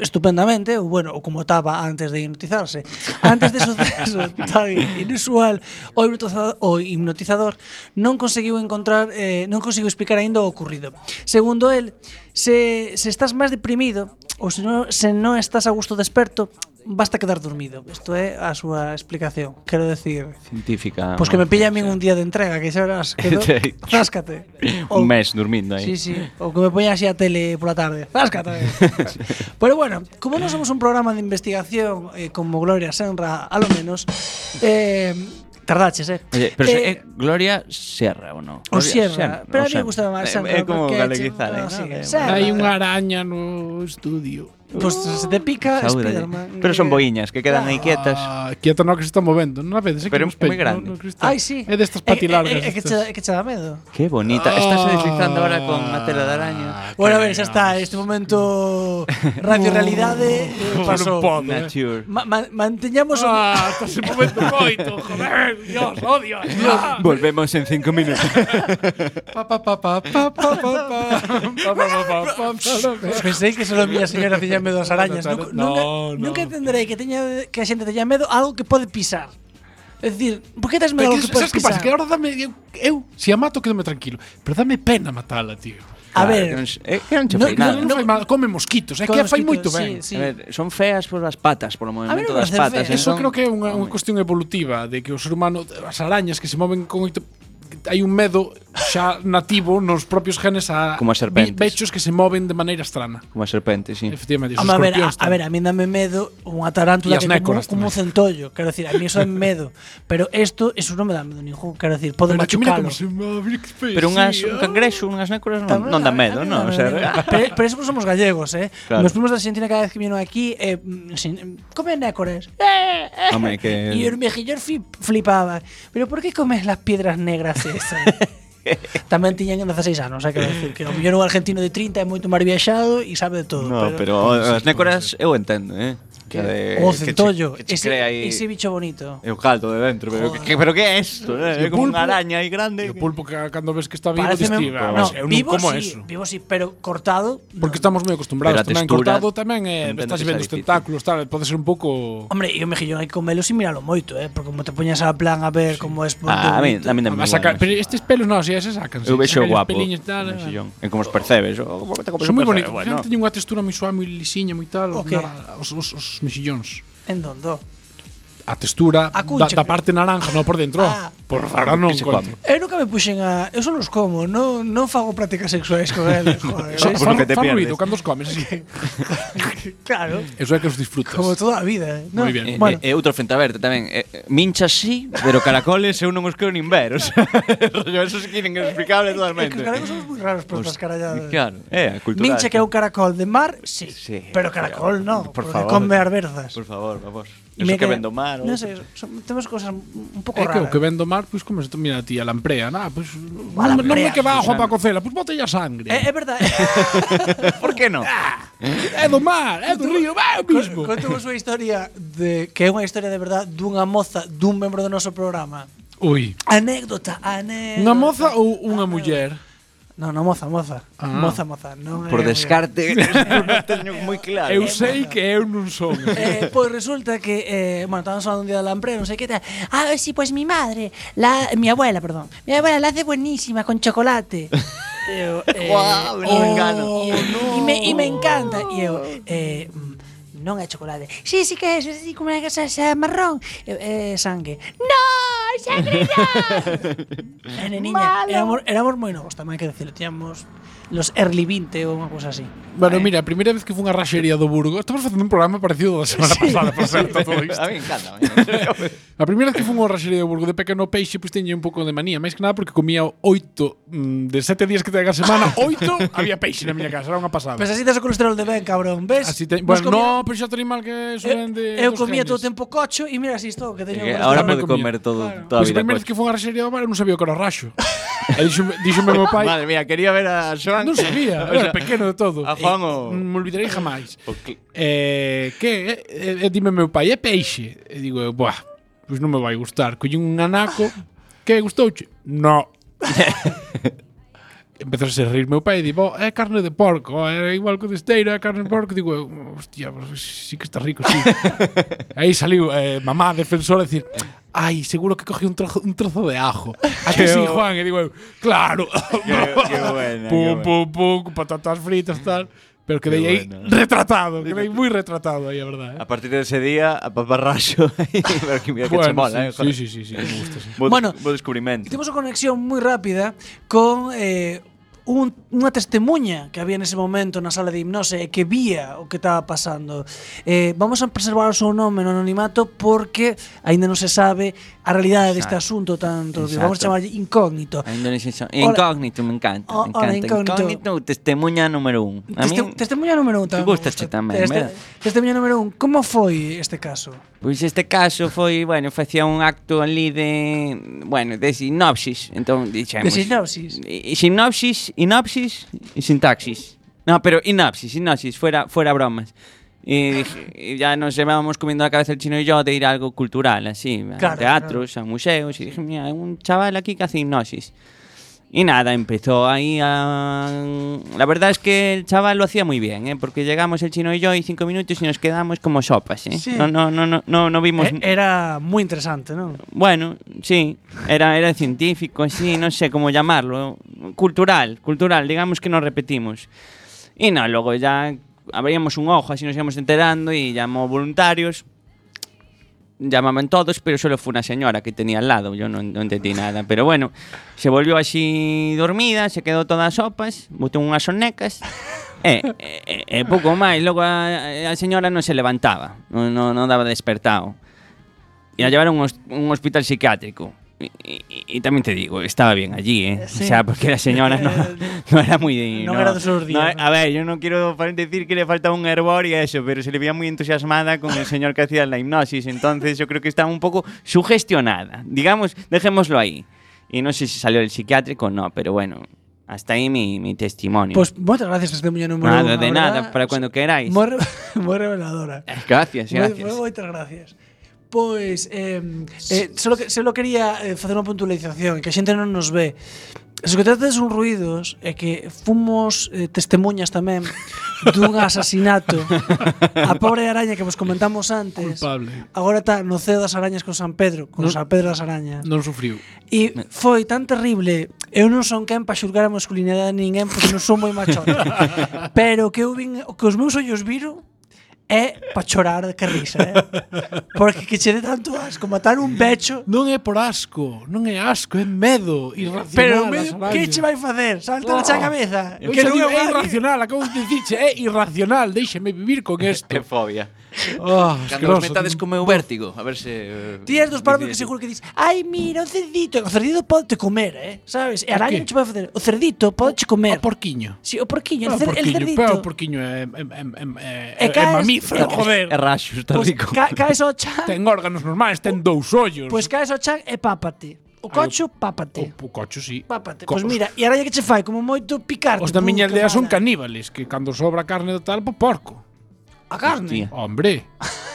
[SPEAKER 1] estupendamente, ou bueno, ou como estaba antes de hipnotizarse. Antes de suceso tan inusual, o hipnotizador, o hipnotizador non conseguiu encontrar, eh, non conseguiu explicar aínda o ocurrido. Segundo el, se, se estás máis deprimido, ou se non, se non estás a gusto desperto, basta quedar dormido. Isto é a súa explicación. Quero decir,
[SPEAKER 9] Científica.
[SPEAKER 1] pois Pues que me
[SPEAKER 9] no,
[SPEAKER 1] pilla a
[SPEAKER 9] Ah, sí.
[SPEAKER 1] min un día de entrega, que xa verás, quedo,
[SPEAKER 9] Sí.
[SPEAKER 1] ráscate.
[SPEAKER 9] Un mes durmiendo
[SPEAKER 1] Sí,
[SPEAKER 9] aí.
[SPEAKER 1] sí. O que me poña así a tele pola tarde. Záscate. Pero bueno, como non somos un programa de investigación eh, como Gloria Senra, a lo menos, eh, tardaches, eh.
[SPEAKER 9] Oye, pero se,
[SPEAKER 1] Eh,
[SPEAKER 9] eh, Gloria Sierra ou non?
[SPEAKER 1] O
[SPEAKER 9] Gloria
[SPEAKER 1] Sierra, pero a
[SPEAKER 9] o
[SPEAKER 1] mí me gusta máis Sierra,
[SPEAKER 9] É como
[SPEAKER 1] porque-
[SPEAKER 9] galeguizar,
[SPEAKER 1] Ah,
[SPEAKER 9] eh,
[SPEAKER 1] sí,
[SPEAKER 9] non?
[SPEAKER 1] Sierra.
[SPEAKER 8] Hai unha araña no estudio
[SPEAKER 1] Pois pues se te pica
[SPEAKER 9] Saúde.
[SPEAKER 1] Spiderman.
[SPEAKER 9] Pero son
[SPEAKER 1] eh,
[SPEAKER 9] boiñas que quedan aí quietas.
[SPEAKER 8] Ah, quieta no que se está movendo, non a vedes, é
[SPEAKER 9] Pero
[SPEAKER 8] que nos
[SPEAKER 9] é moi
[SPEAKER 8] peña,
[SPEAKER 9] grande.
[SPEAKER 8] no, no cristal.
[SPEAKER 1] Ai, sí.
[SPEAKER 8] É destas patilargas.
[SPEAKER 1] É, é, é, que che, é que che dá medo.
[SPEAKER 9] Qué bonita. Estás
[SPEAKER 1] Ah.
[SPEAKER 9] deslizando ahora con a tela de araña.
[SPEAKER 8] Ah,
[SPEAKER 1] Bueno, a ver, xa está.
[SPEAKER 8] eh.
[SPEAKER 1] Este momento radio realidade eh, pasou.
[SPEAKER 9] Nature.
[SPEAKER 1] Ma, ma, manteñamos o...
[SPEAKER 8] Ah, estás en momento coito, joder, Dios, odio. Ah.
[SPEAKER 9] Volvemos en cinco minutos.
[SPEAKER 8] Pa, pa, pa, pa, pa, pa, pa, pa, pa, pa, pa, pa, pa.
[SPEAKER 1] Pues Penséis que solo a miña señora tiña medo ás arañas. Nunca,
[SPEAKER 8] No,
[SPEAKER 1] nunca,
[SPEAKER 8] no.
[SPEAKER 1] nunca entenderei que teña que a xente teña medo a algo que pode pisar. É dicir, por que tes medo a algo
[SPEAKER 8] Pero que,
[SPEAKER 1] que podes
[SPEAKER 8] sabes que pasa?
[SPEAKER 1] pisar?
[SPEAKER 8] Que ahora dame, eu, eu, si a mato, quedome tranquilo. Pero dame pena matala, tío.
[SPEAKER 1] A
[SPEAKER 9] Que non,
[SPEAKER 1] ver,
[SPEAKER 9] eh, que non che
[SPEAKER 1] No,
[SPEAKER 9] fai
[SPEAKER 1] no,
[SPEAKER 9] nada.
[SPEAKER 8] Non, non fai mal, come mosquitos, é que
[SPEAKER 1] con
[SPEAKER 8] a fai
[SPEAKER 1] mosquitos, sí,
[SPEAKER 8] moito ben.
[SPEAKER 1] sí.
[SPEAKER 9] A ver, son feas por las patas, por o
[SPEAKER 1] A mí
[SPEAKER 9] movimento
[SPEAKER 1] non me
[SPEAKER 9] das
[SPEAKER 1] parecen
[SPEAKER 9] patas.
[SPEAKER 1] feas.
[SPEAKER 8] Eso
[SPEAKER 9] entón-
[SPEAKER 8] creo que é unha,
[SPEAKER 9] eh.
[SPEAKER 8] unha cuestión evolutiva de que o ser humano, as arañas que se moven con oito hai un medo xa nativo nos propios genes a
[SPEAKER 9] Como as serpentes.
[SPEAKER 8] bi- bichos que se moven de maneira estrana.
[SPEAKER 9] Como a serpente, sí.
[SPEAKER 8] Efectivamente, os
[SPEAKER 1] Home, a ver, a,
[SPEAKER 8] escorpións
[SPEAKER 1] a ver, a mí dame medo unha tarántula
[SPEAKER 8] E as
[SPEAKER 1] que como,
[SPEAKER 8] nécoras
[SPEAKER 1] como un centollo. Quero decir, a mí eso é medo. Pero esto, eso non me dá medo ningún. Quero decir, podo
[SPEAKER 8] Pero que mira
[SPEAKER 1] machucalo.
[SPEAKER 8] como se move, que feo,
[SPEAKER 9] Pero unhas,
[SPEAKER 8] sí, ah.
[SPEAKER 9] un cangrexo, unhas nécoras non, non dan medo, non? O sea,
[SPEAKER 1] pero, pero eso porque somos gallegos, eh?
[SPEAKER 9] Claro.
[SPEAKER 1] Nos primos da Argentina cada vez que vienen aquí eh, mm, sin- comen nécores. Eh, eh.
[SPEAKER 9] Home, que-
[SPEAKER 1] Y el mejillor fi- flipaba. ¿Pero por qué comes las piedras negras esas? Tamén tiñan 16 anos, hai que decir que o millón un argentino de 30 é moito máis viaxado e sabe de todo.
[SPEAKER 9] no, pero as nécoras eu entendo, eh? Que, de-
[SPEAKER 1] o
[SPEAKER 9] que che-
[SPEAKER 1] Oh, centollo,
[SPEAKER 9] que che
[SPEAKER 1] ese,
[SPEAKER 9] crea aí-
[SPEAKER 1] ese bicho bonito.
[SPEAKER 9] É o caldo de dentro, pero que, pero que é isto? eh? É como unha araña aí grande.
[SPEAKER 8] E o pulpo que cando ves que está vivo
[SPEAKER 1] Pareceme-
[SPEAKER 8] distiva,
[SPEAKER 1] no,
[SPEAKER 9] Eh,
[SPEAKER 8] eu non
[SPEAKER 1] vivo
[SPEAKER 8] como
[SPEAKER 1] sí,
[SPEAKER 8] eso.
[SPEAKER 1] vivo sí, pero cortado.
[SPEAKER 8] Porque
[SPEAKER 1] no.
[SPEAKER 8] estamos moi acostumbrados
[SPEAKER 9] Pero a
[SPEAKER 8] tamén
[SPEAKER 9] textura
[SPEAKER 8] cortado tamén eh,
[SPEAKER 9] entendo
[SPEAKER 8] estás
[SPEAKER 9] que sea
[SPEAKER 8] vendo os
[SPEAKER 9] difícil.
[SPEAKER 8] tentáculos, tal, pode ser un pouco
[SPEAKER 1] Hombre, e o mejillón hai que comelo sin miralo moito, eh? Porque como te poñas a plan a ver como es...
[SPEAKER 9] Ah, a mí, a mí non
[SPEAKER 8] a
[SPEAKER 9] me
[SPEAKER 8] sacar,
[SPEAKER 9] gusta.
[SPEAKER 8] pero estes pelos non, si, se sacan.
[SPEAKER 9] Eu vexo guapo.
[SPEAKER 8] Peliños, tal, ah. eh.
[SPEAKER 9] no sillón. É como os percebes, o- como te comes
[SPEAKER 8] Son
[SPEAKER 9] un
[SPEAKER 8] moi
[SPEAKER 9] percebe,
[SPEAKER 8] bonitos.
[SPEAKER 9] bueno.
[SPEAKER 8] Bueno. Teñen unha textura moi suave, moi lisiña, moi tal,
[SPEAKER 1] O
[SPEAKER 8] os,
[SPEAKER 1] que?
[SPEAKER 8] nara- os, os, os mexillóns.
[SPEAKER 1] En oh. dondo.
[SPEAKER 8] A textura
[SPEAKER 1] A
[SPEAKER 8] da,
[SPEAKER 1] cuncha, creo.
[SPEAKER 8] da parte naranja, non por dentro.
[SPEAKER 1] Ah.
[SPEAKER 8] Por ahora non
[SPEAKER 9] Que se
[SPEAKER 8] encontro.
[SPEAKER 1] Eu Eh, nunca me puxen a... Eu só os como, non, non fago prácticas sexuais con eles, joder.
[SPEAKER 8] Son-
[SPEAKER 1] ¿ves?
[SPEAKER 9] Por
[SPEAKER 8] Fan,
[SPEAKER 9] lo que te
[SPEAKER 8] fan
[SPEAKER 9] pierdes.
[SPEAKER 8] ruido cando os comes. así.
[SPEAKER 1] claro,
[SPEAKER 8] Eso é que os disfrutas.
[SPEAKER 1] como toda a vida. eh, ¿no?
[SPEAKER 8] Muy bien.
[SPEAKER 9] E,
[SPEAKER 1] Bueno,
[SPEAKER 9] e, e outro frente aberto tamén. Eh, E, e, minchas sí, pero caracoles eu non os quero nin ver. O sea, rollo, eso sí que é inexplicable
[SPEAKER 1] é que
[SPEAKER 9] totalmente.
[SPEAKER 1] os galegos somos moi raros por estas caralladas.
[SPEAKER 9] Claro, é a cultura.
[SPEAKER 1] Minche que é un caracol de mar, sí.
[SPEAKER 9] Sí,
[SPEAKER 1] pero caracol no,
[SPEAKER 9] por
[SPEAKER 1] porque
[SPEAKER 9] favor.
[SPEAKER 1] come as berzas.
[SPEAKER 9] Por favor, vamos.
[SPEAKER 1] Y
[SPEAKER 9] Eso
[SPEAKER 1] me
[SPEAKER 9] que
[SPEAKER 1] queda-
[SPEAKER 9] vendo mar.
[SPEAKER 1] Non sei, son- temos cosas un pouco
[SPEAKER 8] É que
[SPEAKER 1] raras.
[SPEAKER 8] o que vendo mar, pois como se mira a ti a lamprea, na, pois
[SPEAKER 1] A
[SPEAKER 8] non non
[SPEAKER 1] lamprea, Eh,
[SPEAKER 8] me que bajo a Paco Cela, pois botella sangre.
[SPEAKER 1] É, é verdade.
[SPEAKER 9] Por que non?
[SPEAKER 1] Ah, eh,
[SPEAKER 8] É do mar, é do río, é o mismo.
[SPEAKER 1] Conto vos unha historia de que é unha historia de verdade dunha moza dun membro do noso programa.
[SPEAKER 8] Ui,
[SPEAKER 1] Anécdota, anécdota.
[SPEAKER 8] unha moza ou unha muller?
[SPEAKER 1] Non, non, moza, moza.
[SPEAKER 8] Ah.
[SPEAKER 1] Moza, moza. Non
[SPEAKER 9] Por
[SPEAKER 1] é-
[SPEAKER 9] descarte, non teño moi claro.
[SPEAKER 8] Eu sei que eu non son.
[SPEAKER 1] Eh, pois resulta que, eh, bueno, estábamos falando un día de lampreo, non sei que tal. Ah, sí, pois mi madre, la, mi abuela, perdón. Mi abuela la hace buenísima con chocolate. E eu, eh, oh,
[SPEAKER 9] Guau, non me engano.
[SPEAKER 1] no. y, me, y me encanta. E eu, eh, mm, non é chocolate. Sí, sí que é, sí, sí, como é que xa, xa é marrón. Eu, eh, sangue. No, sangre non. Nene, niña, éramos, éramos moi novos tamén, que decirlo, tiñamos los early 20 ou unha cousa así.
[SPEAKER 8] Bueno, mira, a primeira vez que fun a raxería do Burgo, estamos facendo un programa parecido ao da semana pasada, por certo, todo isto.
[SPEAKER 9] A mí encanta. me-
[SPEAKER 8] A primeira vez que fun ao raxería do Burgo de pequeno peixe, pois teña un pouco de manía, máis que nada porque comía oito mm, de sete días que tenga a semana, oito había peixe na miña casa, era unha pasada.
[SPEAKER 1] Pois Pues así tes o colesterol de ben, cabrón, ves?
[SPEAKER 8] Así te,
[SPEAKER 1] Nos
[SPEAKER 8] bueno,
[SPEAKER 1] comía-
[SPEAKER 8] no, pero xa tenim mal que suben de
[SPEAKER 1] Eu Eh,
[SPEAKER 8] dos
[SPEAKER 1] comía
[SPEAKER 8] grandes.
[SPEAKER 1] todo o tempo cocho e mira si estou que teño.
[SPEAKER 9] Eh,
[SPEAKER 1] un
[SPEAKER 9] Ahora
[SPEAKER 1] restaurante.
[SPEAKER 9] pode
[SPEAKER 8] comía.
[SPEAKER 9] comer todo
[SPEAKER 1] Claro.
[SPEAKER 9] toda a
[SPEAKER 8] Pois a
[SPEAKER 9] vida.
[SPEAKER 8] primeira vez
[SPEAKER 9] coche.
[SPEAKER 8] que fun a raxería do bar, eu non sabía o que era o raxo. E díxome, díxome meu pai,
[SPEAKER 9] Madre mía, quería ver a Joan.
[SPEAKER 8] non sabía,
[SPEAKER 9] O sea,
[SPEAKER 8] era pequeno de todo.
[SPEAKER 9] a Juan
[SPEAKER 8] E
[SPEAKER 9] o-
[SPEAKER 8] Non me olvidarei jamais.
[SPEAKER 9] o cl-
[SPEAKER 8] Eh, que, eh, eh, dime meu pai, é peixe? E digo, eu, buah, pois non me vai gustar. Collín un anaco, que gustouche? No. Empezou a se rir meu pai e di, "Bo, é carne de porco, é igual que o de esteira, é carne de porco. Digo, eu, hostia, pues, sí que está rico, sí. Aí saliu eh, mamá defensora a decir, ai, seguro que cogí un trozo, un trozo de ajo. A que sí, Juan? E digo, eu, claro.
[SPEAKER 9] qué buena,
[SPEAKER 8] pum,
[SPEAKER 9] qué
[SPEAKER 8] pum, pum, patatas fritas, tal. Pero quedei aí retratado, quedei moi retratado aí, a verdade.
[SPEAKER 1] Ah,
[SPEAKER 9] A partir de ese día, a paparraxo. Pero que mira que che mola, eh.
[SPEAKER 8] sí, sí, sí, sí, sí, me gusta, sí.
[SPEAKER 9] Bo,
[SPEAKER 1] Bueno,
[SPEAKER 9] bueno, bo descubrimento.
[SPEAKER 1] Temos unha conexión moi rápida con eh, un, unha testemunha que había nese momento na sala de hipnose e que vía o que estaba pasando. Eh, vamos a preservar o seu nome no anonimato porque aínda non se sabe a realidade deste asunto tanto.
[SPEAKER 9] Exacto.
[SPEAKER 1] Vamos a chamarlle incógnito.
[SPEAKER 9] Ainda non sei xa- Ah, Incógnito, me encanta.
[SPEAKER 1] Oh, Hola,
[SPEAKER 9] me encanta.
[SPEAKER 1] incógnito.
[SPEAKER 9] incógnito, testemunha número un. A
[SPEAKER 1] Teste,
[SPEAKER 9] min,
[SPEAKER 1] testemunha número un tamén.
[SPEAKER 9] Tú gustaste tamén,
[SPEAKER 1] Teste,
[SPEAKER 9] verdad?
[SPEAKER 1] testemunha número un. Como foi este caso?
[SPEAKER 9] Pois este caso foi, bueno, facía un acto ali de, bueno, de sinopsis, entón dixemos.
[SPEAKER 1] De sinopsis.
[SPEAKER 9] I- Sinopsis, inopsis e sintaxis. No, pero inopsis, sinopsis, fuera, fuera bromas. E dije- e ya nos llevábamos comiendo la cabeza el chino y yo de ir a algo cultural, así,
[SPEAKER 1] Claro,
[SPEAKER 9] a teatros, a museos, y dije, mira, hay un chaval aquí que hace hipnosis. Y nada, empezó ahí a... La verdad es que el chaval lo hacía muy bien, ¿eh? porque llegamos el chino y yo y cinco minutos y nos quedamos como sopas. ¿eh?
[SPEAKER 1] Sí.
[SPEAKER 9] No, no, no, no, no, no vimos...
[SPEAKER 1] Eh, era moi interesante, non?
[SPEAKER 9] Bueno, sí, era, era científico, sí, no sé cómo llamarlo. Cultural, cultural, digamos que nos repetimos. Y no, luego ya abríamos un ojo, así nos íbamos enterando y llamó voluntarios. Llamaban todos, pero solo fue una señora que tenía al lado, yo no, no entendí nada. Pero bueno, se volvió así dormida, se quedó todas sopas, botó unas sonecas. Eh, eh, eh, eh, pouco máis, logo a, a señora non se levantaba, non, non, non daba despertado. Y la llevaron a un hos- un hospital psiquiátrico. Y, y- y también te digo, estaba bien allí, ¿eh?
[SPEAKER 1] Sí.
[SPEAKER 9] O sea, porque la señora no, no era muy...
[SPEAKER 1] No era de sus días,
[SPEAKER 9] no, a ver, yo no quiero decir que le faltaba un hervor y eso, pero se le veía muy entusiasmada con el señor que hacía la hipnosis. Entonces yo creo que estaba un poco sugestionada. Digamos, dejémoslo ahí. Y no sé si salió del psiquiátrico o no, pero bueno, hasta ahí mi, mi testimonio.
[SPEAKER 1] Pois moitas gracias testemunha número un.
[SPEAKER 9] nada,
[SPEAKER 1] a
[SPEAKER 9] de
[SPEAKER 1] Pues, verdad.
[SPEAKER 9] nada, para cuando queráis.
[SPEAKER 1] Moi, re- moi reveladora.
[SPEAKER 9] Gracias, Eh, gracias.
[SPEAKER 1] Moi, moi- moitas gracias. Pois, eh, eh, solo, que, solo quería eh, facer unha puntualización, que a xente non nos ve. Os que trates son ruidos é que fomos eh, testemunhas tamén dun asasinato. A pobre araña que vos comentamos antes,
[SPEAKER 8] Culpable.
[SPEAKER 1] agora está no ceo das arañas con San Pedro, con
[SPEAKER 8] Non-
[SPEAKER 1] San Pedro das arañas.
[SPEAKER 8] Non sufriu.
[SPEAKER 1] E foi tan terrible Eu non son quen para xulgar a masculinidade de ninguén Porque non son moi machón Pero o que eu vin, o que os meus ollos viron É para chorar de que risa eh? Porque que che dé tanto asco Matar un becho
[SPEAKER 8] Non é por asco, non é asco, é medo irracional.
[SPEAKER 1] Pero
[SPEAKER 8] das
[SPEAKER 1] medio,
[SPEAKER 8] arañas.
[SPEAKER 1] que che vai facer? Salta na xa cabeza
[SPEAKER 8] Eu xa
[SPEAKER 1] non
[SPEAKER 8] digo,
[SPEAKER 1] é
[SPEAKER 8] é
[SPEAKER 1] unha-
[SPEAKER 8] irracional, acabo de dicirche, é irracional, déixeme vivir con isto.
[SPEAKER 9] fobia.
[SPEAKER 8] Oh,
[SPEAKER 9] Cando os
[SPEAKER 8] asqueroso.
[SPEAKER 9] metades como eu vértigo, a ver eh, se...
[SPEAKER 1] Ti és dos parvos que seguro que dis Ai, mira, o cerdito O cerdito pode te comer, eh? Sabes? E a araña non
[SPEAKER 8] qué?
[SPEAKER 1] che pode facer O cerdito pode che comer
[SPEAKER 8] O Ah, porquiño.
[SPEAKER 1] Si, o porquiño, o
[SPEAKER 8] Ah, o
[SPEAKER 1] cer- el
[SPEAKER 8] porquiño,
[SPEAKER 1] cerdito
[SPEAKER 8] pero o porquiño é, é, é, é, é,
[SPEAKER 1] E
[SPEAKER 8] é
[SPEAKER 1] caes-
[SPEAKER 8] mamífero, joder.
[SPEAKER 9] É raxo, está
[SPEAKER 1] Pois
[SPEAKER 9] rico.
[SPEAKER 1] Pues ca- caes ao chan
[SPEAKER 8] Ten órganos normais, ten dous ollos.
[SPEAKER 1] Pois caes ao chan e pápate. O cocho,
[SPEAKER 8] o,
[SPEAKER 1] pápate.
[SPEAKER 8] o cocho, sí.
[SPEAKER 1] Pápate.
[SPEAKER 8] Co-
[SPEAKER 1] Pois mira, e a araña que che fai como moito picarte.
[SPEAKER 8] Os da miña
[SPEAKER 1] pum, que
[SPEAKER 8] aldea son
[SPEAKER 1] mala.
[SPEAKER 8] caníbales, que cando sobra carne do tal, po porco.
[SPEAKER 1] A carne.
[SPEAKER 9] Hostia.
[SPEAKER 8] Hombre,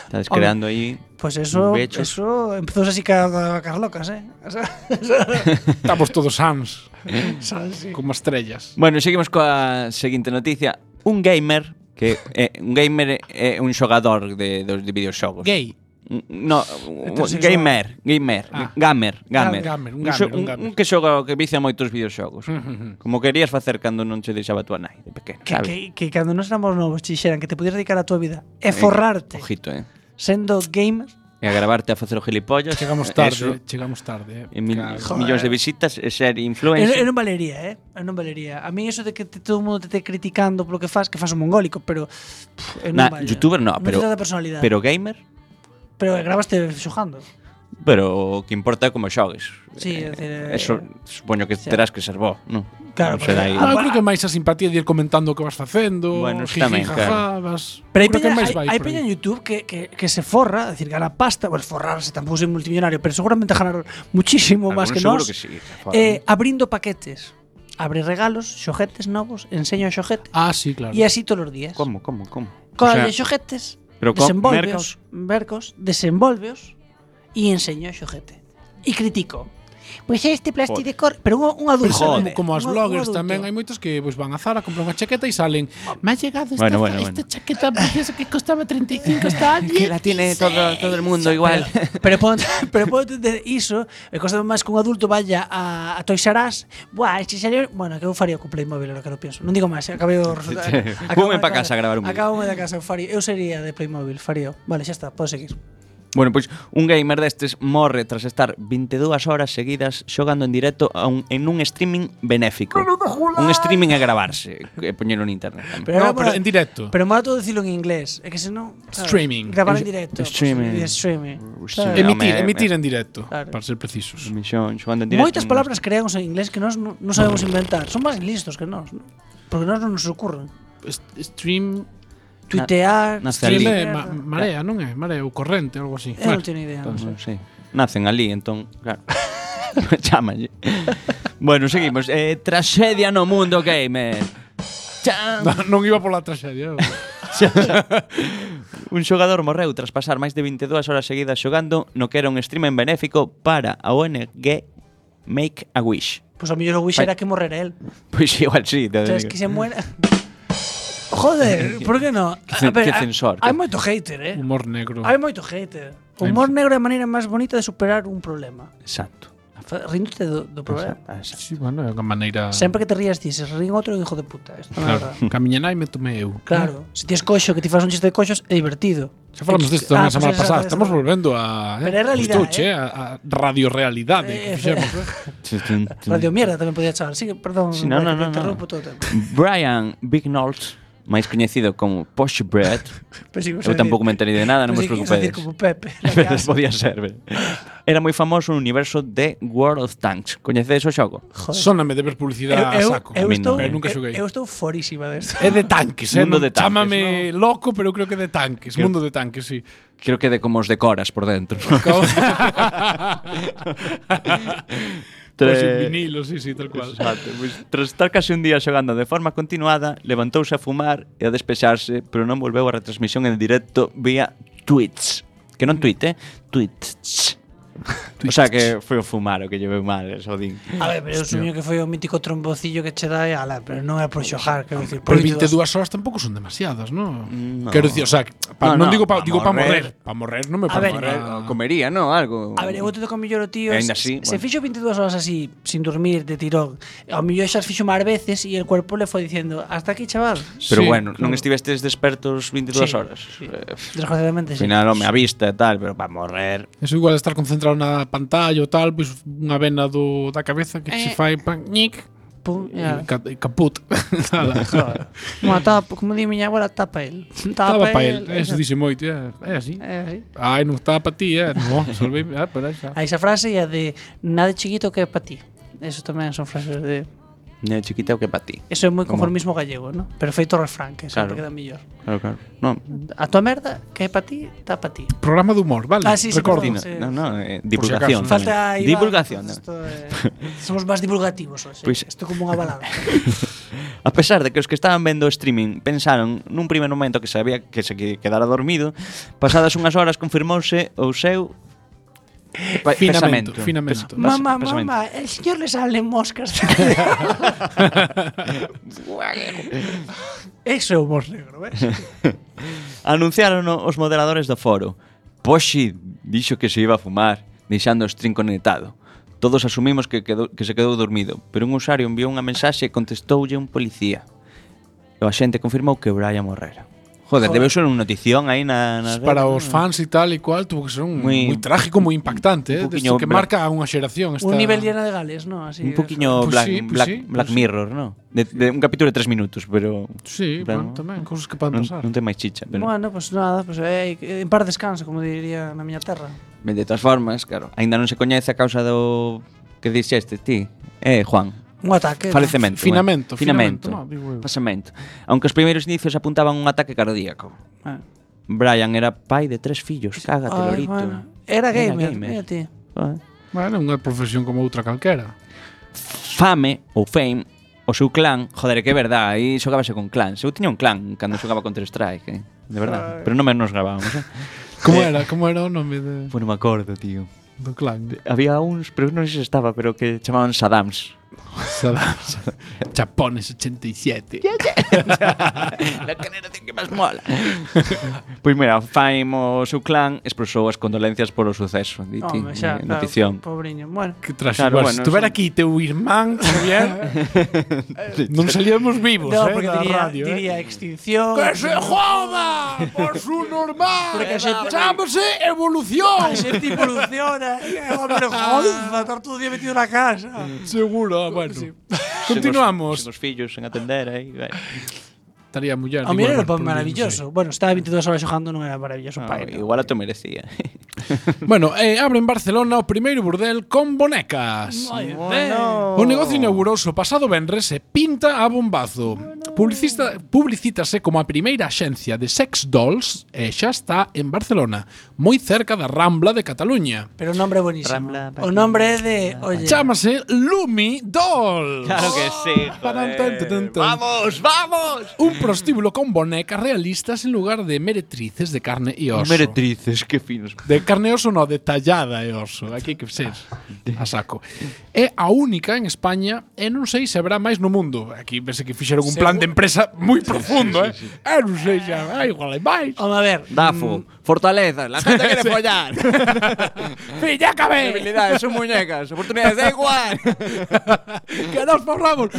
[SPEAKER 9] Estás creando aí...
[SPEAKER 1] Pois eso,
[SPEAKER 9] Bechos.
[SPEAKER 1] eso empezou así ca, ca- cas locas, eh. O sea,
[SPEAKER 8] estamos todos sans. eh,
[SPEAKER 1] Salsi.
[SPEAKER 8] como estrellas.
[SPEAKER 9] Bueno, seguimos coa seguinte noticia. Un gamer que eh, un gamer é un xogador de dos de videoxogos.
[SPEAKER 8] Gay.
[SPEAKER 9] No,
[SPEAKER 1] Heterosexual.
[SPEAKER 9] gamer, gamer,
[SPEAKER 8] Ah.
[SPEAKER 9] gamer, gamer.
[SPEAKER 8] Ah, gamer, un
[SPEAKER 9] xo-
[SPEAKER 8] gamer, un gamer. Mm,
[SPEAKER 9] un que xoga que vicia moitos videoxogos. Como querías facer cando non che deixaba tua nai de pequeno,
[SPEAKER 1] Que,
[SPEAKER 9] sabes?
[SPEAKER 1] que, que cando nos éramos novos dixeran que te podías dedicar a tua vida e forrarte
[SPEAKER 9] Ojito, eh.
[SPEAKER 1] sendo gamer
[SPEAKER 9] E a grabarte a facer o gilipollas.
[SPEAKER 8] Chegamos tarde,
[SPEAKER 9] eso,
[SPEAKER 8] chegamos tarde. eh.
[SPEAKER 9] E mil,
[SPEAKER 8] Claro.
[SPEAKER 9] millóns de visitas e ser
[SPEAKER 1] Eu, eu
[SPEAKER 9] influencer.
[SPEAKER 1] non valería, eh? Eu non valería. A mí eso de que te, todo o mundo te te criticando polo que fas, que fas un mongólico, pero pff, eu non
[SPEAKER 9] Na,
[SPEAKER 1] vale.
[SPEAKER 9] youtuber no, pero-
[SPEAKER 1] Non se trata de personalidade. Pero,
[SPEAKER 9] pero gamer,
[SPEAKER 1] pero grabaste xojando.
[SPEAKER 9] pero o que importa é como xogues.
[SPEAKER 1] Sí, é dicir, eh,
[SPEAKER 9] eso supoño que
[SPEAKER 1] sí.
[SPEAKER 9] terás que ser bo, non?
[SPEAKER 1] Claro,
[SPEAKER 9] Non será
[SPEAKER 1] porque-
[SPEAKER 9] aí.
[SPEAKER 8] Ah, eu creo que máis a simpatía de ir comentando o que vas facendo,
[SPEAKER 9] Bueno,
[SPEAKER 8] bueno,
[SPEAKER 9] eso
[SPEAKER 8] jiji,
[SPEAKER 9] tamén,
[SPEAKER 8] tamén,
[SPEAKER 9] claro.
[SPEAKER 8] jaja, vas...
[SPEAKER 1] Pero hai
[SPEAKER 8] creo que
[SPEAKER 1] peña,
[SPEAKER 8] máis
[SPEAKER 1] hai,
[SPEAKER 8] vai
[SPEAKER 1] hai
[SPEAKER 8] por
[SPEAKER 1] peña en
[SPEAKER 8] aí.
[SPEAKER 1] YouTube que, que, que se forra, é dicir, gana pasta, pues forrarse, tampouco ser multimillonario, pero seguramente ganar muchísimo máis
[SPEAKER 9] Algunos
[SPEAKER 1] que
[SPEAKER 9] seguro
[SPEAKER 1] nós.
[SPEAKER 9] que sí.
[SPEAKER 1] eh, abrindo paquetes. Abre regalos, xojetes novos, enseño a xojete.
[SPEAKER 8] Ah, sí, claro.
[SPEAKER 1] E así todos os días.
[SPEAKER 9] como, como, como?
[SPEAKER 1] Colle xojetes,
[SPEAKER 9] pero co-
[SPEAKER 1] desenvolveos, vercos, desenvolveos e enseño xojete. E critico. Pois este plástico de cor, pero un, un
[SPEAKER 8] Pero
[SPEAKER 1] adulto.
[SPEAKER 8] son
[SPEAKER 1] Joder.
[SPEAKER 8] como as
[SPEAKER 1] Un- un
[SPEAKER 8] bloggers
[SPEAKER 1] adulto.
[SPEAKER 8] tamén hai moitos que pois van a Zara, compran unha chaqueta e salen. Me ha llegado esta,
[SPEAKER 9] Bueno, bueno,
[SPEAKER 8] esta
[SPEAKER 9] bueno.
[SPEAKER 8] chaqueta preciosa que costaba 35 está
[SPEAKER 9] Que la tiene todo, todo el mundo igual.
[SPEAKER 1] Pero puedo, pero puedo entender iso E costa máis que un adulto vaya a, a Toys R Us Buah, este serio Bueno, que eu faría co Playmobil, era o que eu penso Non digo máis, eh, acabei o resultado
[SPEAKER 9] Fume pa casa a gravar un vídeo.
[SPEAKER 1] Acaboume da casa, eu, faría, eu sería de Playmobil, faría Vale, xa está, podo seguir
[SPEAKER 9] bueno, pois un gamer destes morre tras estar 22 horas seguidas xogando en directo a un, en un streaming benéfico. Un streaming a gravarse e poñelo en internet. tamén.
[SPEAKER 8] No,
[SPEAKER 1] era
[SPEAKER 8] pero
[SPEAKER 1] mola-
[SPEAKER 8] en directo.
[SPEAKER 1] Pero mola todo dicilo en inglés É que senón claro,
[SPEAKER 8] Streaming.
[SPEAKER 1] Gravar en
[SPEAKER 9] Es-
[SPEAKER 1] directo pues,
[SPEAKER 9] streaming.
[SPEAKER 1] e Streaming
[SPEAKER 9] Streaming.
[SPEAKER 1] Claro.
[SPEAKER 8] emitir,
[SPEAKER 9] me-
[SPEAKER 8] emitir en directo,
[SPEAKER 1] Claro.
[SPEAKER 8] para ser precisos.
[SPEAKER 9] Misión, xogando en directo.
[SPEAKER 1] Moitas
[SPEAKER 9] non-
[SPEAKER 1] palabras creamos en inglés que nós non non sabemos inventar Son máis listos que nós non? Porque nós non nos ocurren
[SPEAKER 8] Est- Stream,
[SPEAKER 1] Tuitear,
[SPEAKER 9] nace
[SPEAKER 1] streamear,
[SPEAKER 9] ali.
[SPEAKER 8] stream é
[SPEAKER 1] mierda.
[SPEAKER 8] ma- marea, non é? Marea ou corrente, algo así.
[SPEAKER 1] Eu non
[SPEAKER 8] Bueno,
[SPEAKER 1] teño idea non sei.
[SPEAKER 9] Non sei. Nacen ali, entón, claro. Chámalle. bueno, seguimos. Eh, tragedia no mundo gamer. Chan.
[SPEAKER 8] non iba pola traxedia. eu.
[SPEAKER 9] Un xogador morreu tras pasar máis de 22 horas seguidas xogando no que era un stream en benéfico para a ONG Make a Wish.
[SPEAKER 1] Pois a mellor o wish
[SPEAKER 9] Vai.
[SPEAKER 1] era que morrera el
[SPEAKER 9] Pois igual sí, te
[SPEAKER 1] Entonces,
[SPEAKER 9] digo.
[SPEAKER 1] que se muera. Joder, por que non?
[SPEAKER 9] cen- que censor,
[SPEAKER 1] Hai
[SPEAKER 9] que-
[SPEAKER 1] moito hater, eh?
[SPEAKER 8] Humor negro.
[SPEAKER 1] Hai moito hater. O humor negro é a maneira máis bonita de superar un problema.
[SPEAKER 9] Exacto.
[SPEAKER 1] Fa- Ríndote do, do problema.
[SPEAKER 9] exacto.
[SPEAKER 8] Sí, bueno, é unha maneira...
[SPEAKER 1] Sempre que te rías ti, se rín outro hijo de puta. Esto non é
[SPEAKER 8] Claro,
[SPEAKER 1] verdad.
[SPEAKER 8] camiña nai me tomei eu.
[SPEAKER 1] Claro, se tes coxo que ti fas un chiste de coxos é divertido.
[SPEAKER 8] Xa falamos disto
[SPEAKER 1] Ah,
[SPEAKER 8] na
[SPEAKER 1] pois
[SPEAKER 8] semana
[SPEAKER 1] esa-
[SPEAKER 8] pasada,
[SPEAKER 1] esa-
[SPEAKER 8] estamos volvendo a... eh,
[SPEAKER 1] Pero é realidade,
[SPEAKER 8] Gustou, che, a, a radio realidade
[SPEAKER 1] Eh,
[SPEAKER 8] que fixemos. eh.
[SPEAKER 1] Radio mierda tamén podía chamar. Sí, perdón,
[SPEAKER 9] Sí, no,
[SPEAKER 1] Mike,
[SPEAKER 9] no,
[SPEAKER 1] te
[SPEAKER 9] no, no.
[SPEAKER 1] interrompo todo o tempo.
[SPEAKER 9] Brian Big Knowles, máis coñecido como Posh Bread. Eu tampouco me enterei de nada, non vos preocupedes.
[SPEAKER 1] como Pepe. na
[SPEAKER 9] Pero
[SPEAKER 1] casa.
[SPEAKER 9] podía ser, ben. Era moi famoso no universo de World of Tanks. Coñecedes o xogo?
[SPEAKER 1] Joder.
[SPEAKER 8] Sóname de ver publicidade a
[SPEAKER 1] Eu, eu,
[SPEAKER 8] saco.
[SPEAKER 1] eu,
[SPEAKER 9] A min
[SPEAKER 1] estou,
[SPEAKER 9] non,
[SPEAKER 1] eu,
[SPEAKER 9] eh.
[SPEAKER 8] Nunca xoguei.
[SPEAKER 1] eu estou forísima desto.
[SPEAKER 8] É de tanques, eh? non-
[SPEAKER 9] Mundo de tanques,
[SPEAKER 8] Chámame loco, pero eu creo que é de tanques.
[SPEAKER 9] Creo-
[SPEAKER 8] Mundo de tanques, sí.
[SPEAKER 9] Creo que de como os decoras por dentro.
[SPEAKER 8] Cabo- Pois un
[SPEAKER 9] Tre-
[SPEAKER 8] vinilo, sí, sí, tal cual.
[SPEAKER 9] Exacto, pois, tras estar casi un día xogando de forma continuada, levantouse a fumar e a despexarse, pero non volveu a retransmisión en directo vía tweets. Que non tweet, eh? Tweets. o sea que foi o fumar o que llevei mal, eh, eso din.
[SPEAKER 1] A ver, pero eu supoño que foi o mítico trombocillo que che dai ala, pero non é por xojar, quero dicir, por
[SPEAKER 8] Ah, Pero 22 horas tampouco son demasiadas, non? No. Quero dicir, o sea, pa,
[SPEAKER 9] No,
[SPEAKER 8] non
[SPEAKER 9] no,
[SPEAKER 8] digo pa,
[SPEAKER 9] pa
[SPEAKER 8] digo pa
[SPEAKER 9] morrer.
[SPEAKER 8] morrer. Pa morrer non me
[SPEAKER 1] A ver, eh,
[SPEAKER 8] parece.
[SPEAKER 9] Ah, Comería, no? Algo.
[SPEAKER 1] A ver, eu te toco mellor o tío,
[SPEAKER 9] E ainda
[SPEAKER 1] se,
[SPEAKER 9] así,
[SPEAKER 1] se fixo
[SPEAKER 9] bueno.
[SPEAKER 1] 22 horas así, sin dormir, de tirón, ao mellor xa as fixo máis veces e el cuerpo le foi dicindo, hasta aquí, chaval.
[SPEAKER 9] Pero
[SPEAKER 8] Sí,
[SPEAKER 9] bueno, non
[SPEAKER 8] claro.
[SPEAKER 9] estivestes despertos 22 horas.
[SPEAKER 1] Sí.
[SPEAKER 9] Eh,
[SPEAKER 1] Desgraciadamente, sí.
[SPEAKER 9] Al final, home, a vista e tal, pero para morrer.
[SPEAKER 8] Eso igual estar concentrado na pantalla ou tal, pois unha vena do, da cabeza que se fai pan, ñic,
[SPEAKER 1] Pum, Eh,
[SPEAKER 8] e
[SPEAKER 1] ya.
[SPEAKER 8] ca- e caput. Nada.
[SPEAKER 1] Bueno, tapa, como di miña abuela, tapa el. Eh.
[SPEAKER 8] Estaba pa el, eso dixe moito, é, é así.
[SPEAKER 1] É así.
[SPEAKER 8] Ai, non estaba pa ti, é, non, salvei, ah, pero xa.
[SPEAKER 1] A esa frase e a de nada chiquito que é para ti. Eso tamén son frases de...
[SPEAKER 9] Ne chiquita o que para ti.
[SPEAKER 1] Eso é moi
[SPEAKER 9] Como-
[SPEAKER 1] conformismo gallego, ¿no? Pero feito refrán, que sempre
[SPEAKER 9] Claro.
[SPEAKER 1] queda mellor.
[SPEAKER 9] Claro, claro. No,
[SPEAKER 1] A tua merda, que é para ti, está para ti.
[SPEAKER 8] Programa de humor, vale,
[SPEAKER 1] Ah, sí, sí,
[SPEAKER 8] recordo.
[SPEAKER 1] perdón.
[SPEAKER 9] Dino,
[SPEAKER 1] Sí.
[SPEAKER 9] no, no, eh,
[SPEAKER 8] Por si
[SPEAKER 9] divulgación.
[SPEAKER 8] acaso.
[SPEAKER 1] Falta
[SPEAKER 9] tamén.
[SPEAKER 1] Iván,
[SPEAKER 9] divulgación. eh.
[SPEAKER 1] entonces
[SPEAKER 9] tamén.
[SPEAKER 1] esto é- eh. somos máis divulgativos hoxe.
[SPEAKER 9] Pois-
[SPEAKER 1] Isto como unha balada.
[SPEAKER 9] A pesar de que os que estaban vendo o streaming pensaron nun primeiro momento que sabía que se que- quedara dormido, pasadas unhas horas confirmouse o seu Pa-
[SPEAKER 8] Finamento,
[SPEAKER 9] pesamento.
[SPEAKER 8] finamento.
[SPEAKER 9] Pes- pes-
[SPEAKER 1] Mamá,
[SPEAKER 9] pesamento.
[SPEAKER 1] mamá, el señor le salen moscas. Eso é humor negro, ves?
[SPEAKER 9] Anunciaron os moderadores do foro. Poxi dixo que se iba a fumar, deixando o string conectado. Todos asumimos que, quedou, que se quedou dormido, pero un usuario enviou unha mensaxe e contestoulle un policía. E o axente confirmou que Brian morrera. Joder, debeu ser unha notición aí na... na
[SPEAKER 8] Para os fans e tal e cual tuvo que ser un
[SPEAKER 9] Moi-
[SPEAKER 8] moi, trágico, moi impactante, eh,
[SPEAKER 9] un
[SPEAKER 8] desto
[SPEAKER 9] poquiño
[SPEAKER 8] que
[SPEAKER 9] bra-
[SPEAKER 8] marca a unha xeración esta.
[SPEAKER 1] Un nivel llena de Gales, ¿no? Así
[SPEAKER 9] Un poquinho
[SPEAKER 8] Pois
[SPEAKER 9] Black,
[SPEAKER 8] sí, pois
[SPEAKER 9] Black,
[SPEAKER 8] sí, pois
[SPEAKER 9] Black
[SPEAKER 8] sí.
[SPEAKER 9] Mirror, no? De, de un capítulo de tres minutos, pero...
[SPEAKER 8] Sí,
[SPEAKER 9] Claro.
[SPEAKER 8] bueno, tamén, cousas que poden
[SPEAKER 9] Non,
[SPEAKER 8] pasar.
[SPEAKER 9] non ten máis chicha, pero...
[SPEAKER 1] Bueno, pues nada, pues eh, en par descanso, como diría na miña terra.
[SPEAKER 9] Ben, De todas formas, claro, aínda non se coñece a causa do que dixeste ti, eh, Juan.
[SPEAKER 1] Un ataque. ¿no?
[SPEAKER 9] Falecemento.
[SPEAKER 8] Finamento,
[SPEAKER 9] bueno. finamento.
[SPEAKER 8] finamento, no, digo eu.
[SPEAKER 9] Pasamento. Aunque os primeiros inicios apuntaban un ataque cardíaco.
[SPEAKER 1] Ah.
[SPEAKER 9] Brian era pai de tres fillos, cágate,
[SPEAKER 1] Ay,
[SPEAKER 9] Lorito.
[SPEAKER 1] bueno. Era gamer, mira ti.
[SPEAKER 9] Ah.
[SPEAKER 8] Bueno, unha profesión como outra calquera.
[SPEAKER 9] Fame ou Fame, o seu clan, joder, é que é verdad, aí xogábase con clans. Eu tiña un clan cando xogaba Counter Strike, eh? de verdad, pero non menos grabábamos, eh?
[SPEAKER 8] Como era, como era o nome de,
[SPEAKER 9] Pois non me acordo, tío.
[SPEAKER 8] do clan?
[SPEAKER 9] Había uns, pero non sei se estaba, pero que chamaban Saddams.
[SPEAKER 8] Sadam. Chapones 87.
[SPEAKER 9] La generación que máis mola. pois mira, Fame o seu clan expresou as condolencias polo suceso, di ti,
[SPEAKER 1] Home, xa,
[SPEAKER 9] eh,
[SPEAKER 1] claro,
[SPEAKER 9] notición.
[SPEAKER 1] Pobriño. Bueno,
[SPEAKER 8] Que traxe,
[SPEAKER 9] Claro,
[SPEAKER 8] claro,
[SPEAKER 9] bueno,
[SPEAKER 8] bueno, estuver
[SPEAKER 9] son-
[SPEAKER 8] aquí teu irmán, Javier, eh, non salíamos vivos,
[SPEAKER 1] no,
[SPEAKER 8] eh,
[SPEAKER 1] porque
[SPEAKER 8] da
[SPEAKER 1] diría,
[SPEAKER 8] radio, eh.
[SPEAKER 1] diría extinción.
[SPEAKER 8] ¡Que se joda! Por su normal!
[SPEAKER 1] Porque a xente-
[SPEAKER 8] ¡Chámose evolución!
[SPEAKER 1] A xente evoluciona.
[SPEAKER 8] Ah.
[SPEAKER 1] Hombre, jolfa, estar todo o día metido na casa.
[SPEAKER 8] Seguro, ah, bueno.
[SPEAKER 9] Sen os- sen
[SPEAKER 8] Continuamos.
[SPEAKER 9] os fillos en atender eh, aí. vai.
[SPEAKER 8] Estaría muller.
[SPEAKER 1] A mí
[SPEAKER 8] igual,
[SPEAKER 1] era
[SPEAKER 8] por
[SPEAKER 1] pa-
[SPEAKER 8] mí,
[SPEAKER 1] maravilloso. Bueno, estaba 22 horas xogando, non era maravilloso
[SPEAKER 9] Ah,
[SPEAKER 1] para ele.
[SPEAKER 9] igual a te merecía.
[SPEAKER 8] non sei. Bueno, eh, abre en Barcelona o primeiro burdel con bonecas. O negocio inaugurouse o pasado venres e pinta a bombazo. Publicista, publicítase como a primeira axencia de sex dolls e xa está en Barcelona, moi cerca da Rambla de Cataluña.
[SPEAKER 1] Pero o nombre é buenísimo. O nombre é de, oye,
[SPEAKER 8] Chámase Lumi Dolls.
[SPEAKER 9] Claro que sí.
[SPEAKER 8] Tarán, tan, tan, tan.
[SPEAKER 9] Vamos, vamos.
[SPEAKER 8] Un prostíbulo con bonecas realistas en lugar de meretrices de carne e oso.
[SPEAKER 9] Meretrices, que finos.
[SPEAKER 8] De carne e oso no, de tallada e oso. Aquí hai que ser a saco. É a única en España e non sei se habrá máis no mundo. Aquí pensei que fixeron un plan de empresa moi profundo, eh? Ah, non sei se habrá, igual hai máis.
[SPEAKER 9] Oh.
[SPEAKER 1] Home, a ver, Mm,
[SPEAKER 9] Dafo, fortaleza, la gente quiere follar.
[SPEAKER 8] Filla cabe!
[SPEAKER 9] Habilidades, son muñecas, oportunidades, da igual.
[SPEAKER 8] Que nos forramos!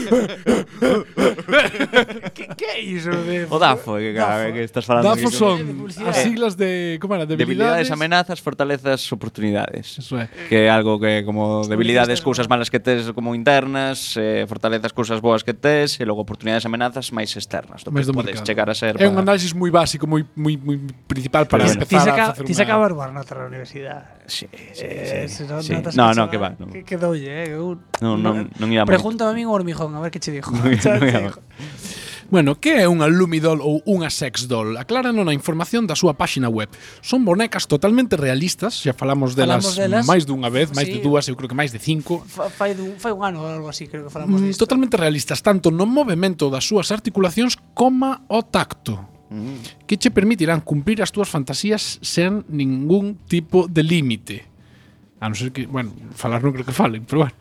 [SPEAKER 8] que, que é iso de...
[SPEAKER 9] O Dafo, que, claro, que estás falando.
[SPEAKER 8] Dafo
[SPEAKER 9] que-
[SPEAKER 8] son
[SPEAKER 1] publicidade.
[SPEAKER 8] as siglas de... Como era?
[SPEAKER 9] Debilidades,
[SPEAKER 8] Debilidades,
[SPEAKER 9] amenazas, fortalezas, oportunidades.
[SPEAKER 8] Eso é.
[SPEAKER 9] Que é algo que como debilidades, cousas malas que tes como internas, eh, fortalezas, cousas boas que tes, e logo oportunidades, amenazas máis externas, do
[SPEAKER 8] Máis
[SPEAKER 9] que
[SPEAKER 8] do
[SPEAKER 9] podes
[SPEAKER 8] mercado.
[SPEAKER 9] chegar a ser.
[SPEAKER 8] É un
[SPEAKER 9] para-
[SPEAKER 8] análisis moi básico, moi moi moi principal para
[SPEAKER 9] Pero bueno.
[SPEAKER 1] ti
[SPEAKER 8] empezar
[SPEAKER 1] saca,
[SPEAKER 8] a facer
[SPEAKER 1] ti
[SPEAKER 8] unha-
[SPEAKER 1] saca barbar na outra universidade.
[SPEAKER 9] Sí, sí,
[SPEAKER 1] Eh, se
[SPEAKER 9] sí,
[SPEAKER 1] non-
[SPEAKER 9] sí.
[SPEAKER 1] non te has
[SPEAKER 9] No,
[SPEAKER 1] cachado,
[SPEAKER 9] no, que va.
[SPEAKER 1] eh,
[SPEAKER 9] No.
[SPEAKER 1] Que, que doulle, eh. eu-
[SPEAKER 9] Non, non, non íamos.
[SPEAKER 1] Pregúntame a min o hormijón, a ver que che dixo.
[SPEAKER 9] Non íamos.
[SPEAKER 1] Xa te dixo.
[SPEAKER 8] Bueno, que é unha Lumidol ou unha Sex Doll? Aclárano na información da súa páxina web. Son bonecas totalmente realistas, xa falamos delas,
[SPEAKER 1] Falamos delas.
[SPEAKER 8] máis dunha vez, máis
[SPEAKER 1] Sí.
[SPEAKER 8] de dúas, eu creo que máis de cinco.
[SPEAKER 1] Fa- Fai dun, fai un ano ou algo así, creo que falamos
[SPEAKER 8] Mm,
[SPEAKER 1] disto.
[SPEAKER 8] totalmente realistas tanto no movemento das súas articulacións coma o tacto que che permitirán cumprir as túas fantasías sen ningún tipo de límite a non ser que, bueno, falar non creo que falen pero bueno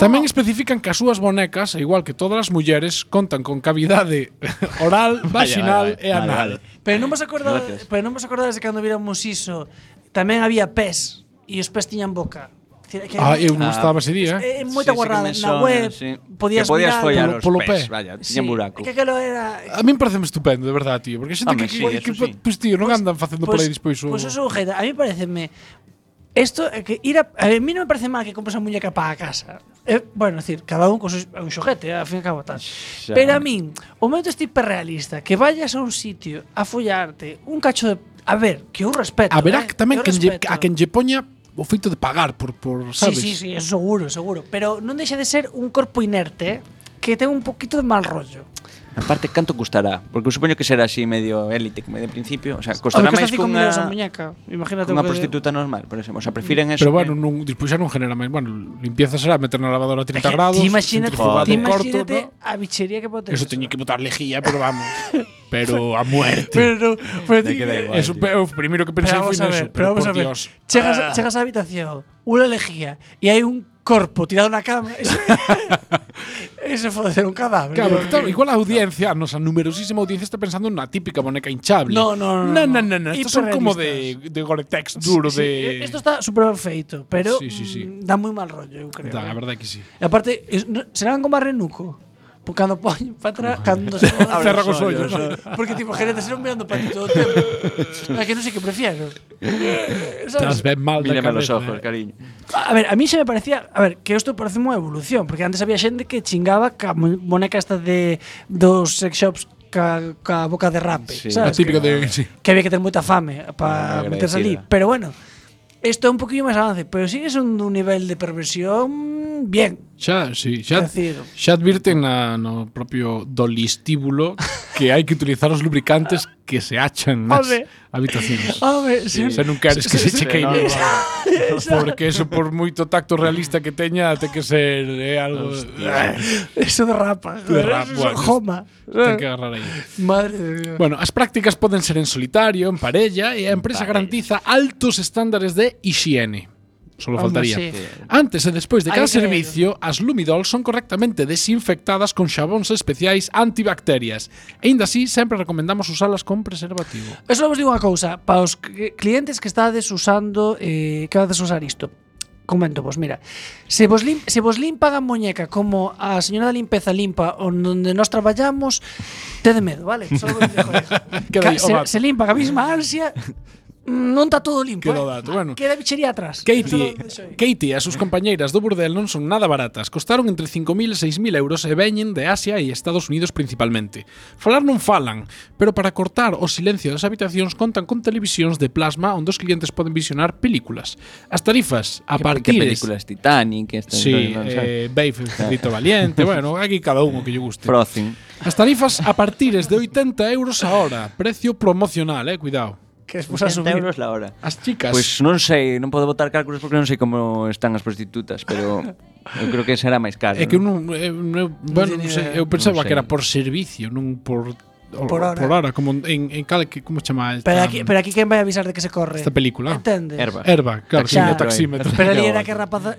[SPEAKER 8] tamén especifican que as súas bonecas ao igual que todas as mulleres contan con cavidade oral, vaginal
[SPEAKER 9] vale,
[SPEAKER 8] e
[SPEAKER 9] vale,
[SPEAKER 8] anal
[SPEAKER 1] Pero non vos acordades,
[SPEAKER 9] Gracias.
[SPEAKER 1] pero non vos acordades de cando viramos iso, tamén había pés e os pés tiñan boca. Dicir, que-
[SPEAKER 8] ah, eu non
[SPEAKER 9] Ah,
[SPEAKER 8] estaba ese día
[SPEAKER 1] É
[SPEAKER 8] eh.
[SPEAKER 1] moita
[SPEAKER 9] Sí, sí que
[SPEAKER 1] guarrada
[SPEAKER 9] me
[SPEAKER 1] na
[SPEAKER 9] sona,
[SPEAKER 1] web.
[SPEAKER 9] sí.
[SPEAKER 1] Podías,
[SPEAKER 9] que podías
[SPEAKER 1] mirar,
[SPEAKER 9] follar
[SPEAKER 8] Polo-
[SPEAKER 9] os
[SPEAKER 8] polo
[SPEAKER 9] pés,
[SPEAKER 8] pé.
[SPEAKER 9] vaya, tiña
[SPEAKER 1] Sí,
[SPEAKER 9] buraco.
[SPEAKER 1] Que aquilo era
[SPEAKER 8] A min pareceme estupendo, de verdade, tío Porque a xente
[SPEAKER 9] Home,
[SPEAKER 8] que,
[SPEAKER 9] sí,
[SPEAKER 8] que, que,
[SPEAKER 9] eso sí.
[SPEAKER 8] pois, tío, non andan facendo por aí despois o...
[SPEAKER 1] Pois eso ojeta, a mí pareceme Esto é que ir a, a mí non me parece mal que compres unha muñeca para a casa. Eh, bueno, é dicir, cada un con sus- un xojete, eh, al fin e ao cabo tal.
[SPEAKER 9] Xa.
[SPEAKER 1] Pero a min, o momento este hiperrealista, que vayas a un sitio a follarte un cacho de A ver, que eu respeto.
[SPEAKER 8] A verá
[SPEAKER 1] eh,
[SPEAKER 8] que tamén
[SPEAKER 1] eu
[SPEAKER 8] quen lle,
[SPEAKER 1] respeto.
[SPEAKER 8] a quen lle poña o feito de pagar por, por sabes?
[SPEAKER 1] Sí, sí, sí, eso seguro, seguro. Pero non deixa de ser un corpo inerte eh, que ten un poquito de mal rollo.
[SPEAKER 9] Aparte, canto custará? Porque eu supoño que será así medio élite, como de principio. O sea,
[SPEAKER 1] Home,
[SPEAKER 9] costará
[SPEAKER 1] custa
[SPEAKER 9] máis
[SPEAKER 1] cinco
[SPEAKER 9] cunha,
[SPEAKER 1] millóns a muñeca. Imagínate
[SPEAKER 9] cunha
[SPEAKER 1] o que-
[SPEAKER 9] prostituta normal, por exemplo. O sea, prefiren eso.
[SPEAKER 8] Pero bueno, non, dispuxar non genera máis. Bueno, limpieza será meter na lavadora a 30 grados.
[SPEAKER 1] Ti imagínate,
[SPEAKER 8] centrifugado
[SPEAKER 1] ti
[SPEAKER 8] corto,
[SPEAKER 1] imagínate
[SPEAKER 8] ¿no?
[SPEAKER 1] a bichería que pode ter.
[SPEAKER 8] Eso teño que botar lejía, pero vamos. pero a muerte.
[SPEAKER 1] Pero, pero, ti-
[SPEAKER 8] Eso eso pe- o primeiro que pensei
[SPEAKER 1] pero vamos
[SPEAKER 8] foi
[SPEAKER 1] a
[SPEAKER 8] niso.
[SPEAKER 1] ver, pero vamos a
[SPEAKER 8] por
[SPEAKER 1] ver.
[SPEAKER 8] Dios. Ah.
[SPEAKER 1] Chegas, chegas á habitación, unha lejía e hai un corpo tirado na cama. Eso, eso pode ser un cadáver.
[SPEAKER 8] Claro,
[SPEAKER 1] Yo-
[SPEAKER 8] porque tal, igual a audiencia, a nosa numerosísima audiencia está pensando na típica boneca hinchable.
[SPEAKER 1] No, no, no,
[SPEAKER 8] Na,
[SPEAKER 1] no.
[SPEAKER 8] na, na, na. Estos son como de,
[SPEAKER 1] Hiperrealistas.
[SPEAKER 8] de Gore-Tex duro
[SPEAKER 1] Sí, e-, eh,
[SPEAKER 8] de...
[SPEAKER 1] Esto está súper ben feito, pero
[SPEAKER 8] Sí, sí, sí.
[SPEAKER 1] mm, dá moi mal rollo, eu creo.
[SPEAKER 8] Da,
[SPEAKER 1] eh.
[SPEAKER 8] a verdade que sí.
[SPEAKER 1] E aparte, es- no- serán como arrenuco. Porque cando poñen para atrás, cando se
[SPEAKER 8] Cerra cos ollos.
[SPEAKER 1] Porque tipo, gerente, serán mirando para ti todo o tempo. É que non sei que prefiero. Eh, sabes?
[SPEAKER 8] Estás ben mal da
[SPEAKER 9] Mírame los
[SPEAKER 8] cabeza, eh.
[SPEAKER 9] ojos, cariño.
[SPEAKER 1] A ver, a mí se me parecía, a ver, que isto parece unha evolución, porque antes había xente que chingaba ca mo- boneca esta de dos sex shops ca, ca boca de rape,
[SPEAKER 9] Sí.
[SPEAKER 8] A
[SPEAKER 1] sabes?
[SPEAKER 8] típica de... Sí.
[SPEAKER 1] que había que ter moita fame para
[SPEAKER 9] Ah,
[SPEAKER 1] meterse ali.
[SPEAKER 9] agradecida.
[SPEAKER 1] Pero bueno, isto é un poquillo máis avance, pero sigue sendo un nivel de perversión bien.
[SPEAKER 8] Xa, sí,
[SPEAKER 1] Quer
[SPEAKER 8] xa,
[SPEAKER 1] decir,
[SPEAKER 8] xa advirten na, no propio dolistíbulo que hai que utilizar os lubricantes que se achan nas
[SPEAKER 1] Home.
[SPEAKER 8] habitacións.
[SPEAKER 1] home, se-
[SPEAKER 8] Xa non queres que se che queime.
[SPEAKER 9] Sí,
[SPEAKER 8] Porque eso por moito tacto realista que teña ten que ser eh, algo
[SPEAKER 1] eso derrapa.
[SPEAKER 8] Derrapa,
[SPEAKER 1] Eso é
[SPEAKER 8] bueno.
[SPEAKER 1] joma.
[SPEAKER 8] ten que agarrar aí.
[SPEAKER 1] Madre de Dios.
[SPEAKER 8] Bueno, as prácticas poden ser en solitario, en parella e a empresa garantiza altos estándares de hixiene. Solo
[SPEAKER 1] Home,
[SPEAKER 8] faltaría.
[SPEAKER 1] sí.
[SPEAKER 8] Antes e despois de
[SPEAKER 1] Hai
[SPEAKER 8] cada
[SPEAKER 1] que creer.
[SPEAKER 8] servicio, as Lumidol son correctamente desinfectadas con xabóns especiais antibacterias. E ainda así, sempre recomendamos usalas con preservativo.
[SPEAKER 1] Eso vos digo unha cousa, para os cl- clientes que estades usando, eh, que vades usar isto. Comento vos, mira, se vos, lim, se vos limpan a muñeca como a señora da limpeza limpa onde nós traballamos, tede medo, vale? Só vos digo, eh. Ca,
[SPEAKER 8] Queda aí, o
[SPEAKER 1] se,
[SPEAKER 8] dato.
[SPEAKER 1] se limpa a mesma ansia, mm, non está todo limpo,
[SPEAKER 8] Queda o
[SPEAKER 1] eh?
[SPEAKER 8] dato, bueno.
[SPEAKER 1] Queda bichería atrás.
[SPEAKER 8] Katie,
[SPEAKER 1] Eso lo deixo aí.
[SPEAKER 8] Katie e as súas compañeiras do burdel non son nada baratas. Costaron entre 5.000 e 6.000 euros e veñen de Asia e Estados Unidos principalmente. Falar non falan, pero para cortar o silencio das habitacións contan con televisións de plasma onde os clientes poden visionar películas. As tarifas a
[SPEAKER 9] Que
[SPEAKER 8] partir
[SPEAKER 9] películas Titanic, estas
[SPEAKER 8] Sí,
[SPEAKER 9] non
[SPEAKER 8] eh,
[SPEAKER 9] sabes?
[SPEAKER 8] Babe, Cerrito Valiente, bueno, aquí cada un o que lle guste.
[SPEAKER 9] Frozen.
[SPEAKER 8] As tarifas a partires de 80 euros a hora, precio promocional, eh, cuidado.
[SPEAKER 1] Que es a
[SPEAKER 9] 80
[SPEAKER 1] subir.
[SPEAKER 9] euros la hora.
[SPEAKER 8] As chicas
[SPEAKER 9] Pois non sei, non podo botar cálculos porque non sei como están as prostitutas, pero eu creo que será máis caro.
[SPEAKER 8] É que eu
[SPEAKER 9] non?
[SPEAKER 8] non, eu, eu, bueno, non sei, eu pensaba
[SPEAKER 9] Non sei.
[SPEAKER 8] que era por servicio, non por o-
[SPEAKER 1] Por hora.
[SPEAKER 8] por hora como en, en cal que como se chama esta,
[SPEAKER 1] Pero aquí, pero aquí quen vai avisar de que se corre?
[SPEAKER 8] esta película?
[SPEAKER 1] Entendes?
[SPEAKER 9] Erva.
[SPEAKER 8] Erva, claro,
[SPEAKER 1] Taxímetro aí.
[SPEAKER 8] taxímetro, taxímetro.
[SPEAKER 1] Pero ali era que a rapaza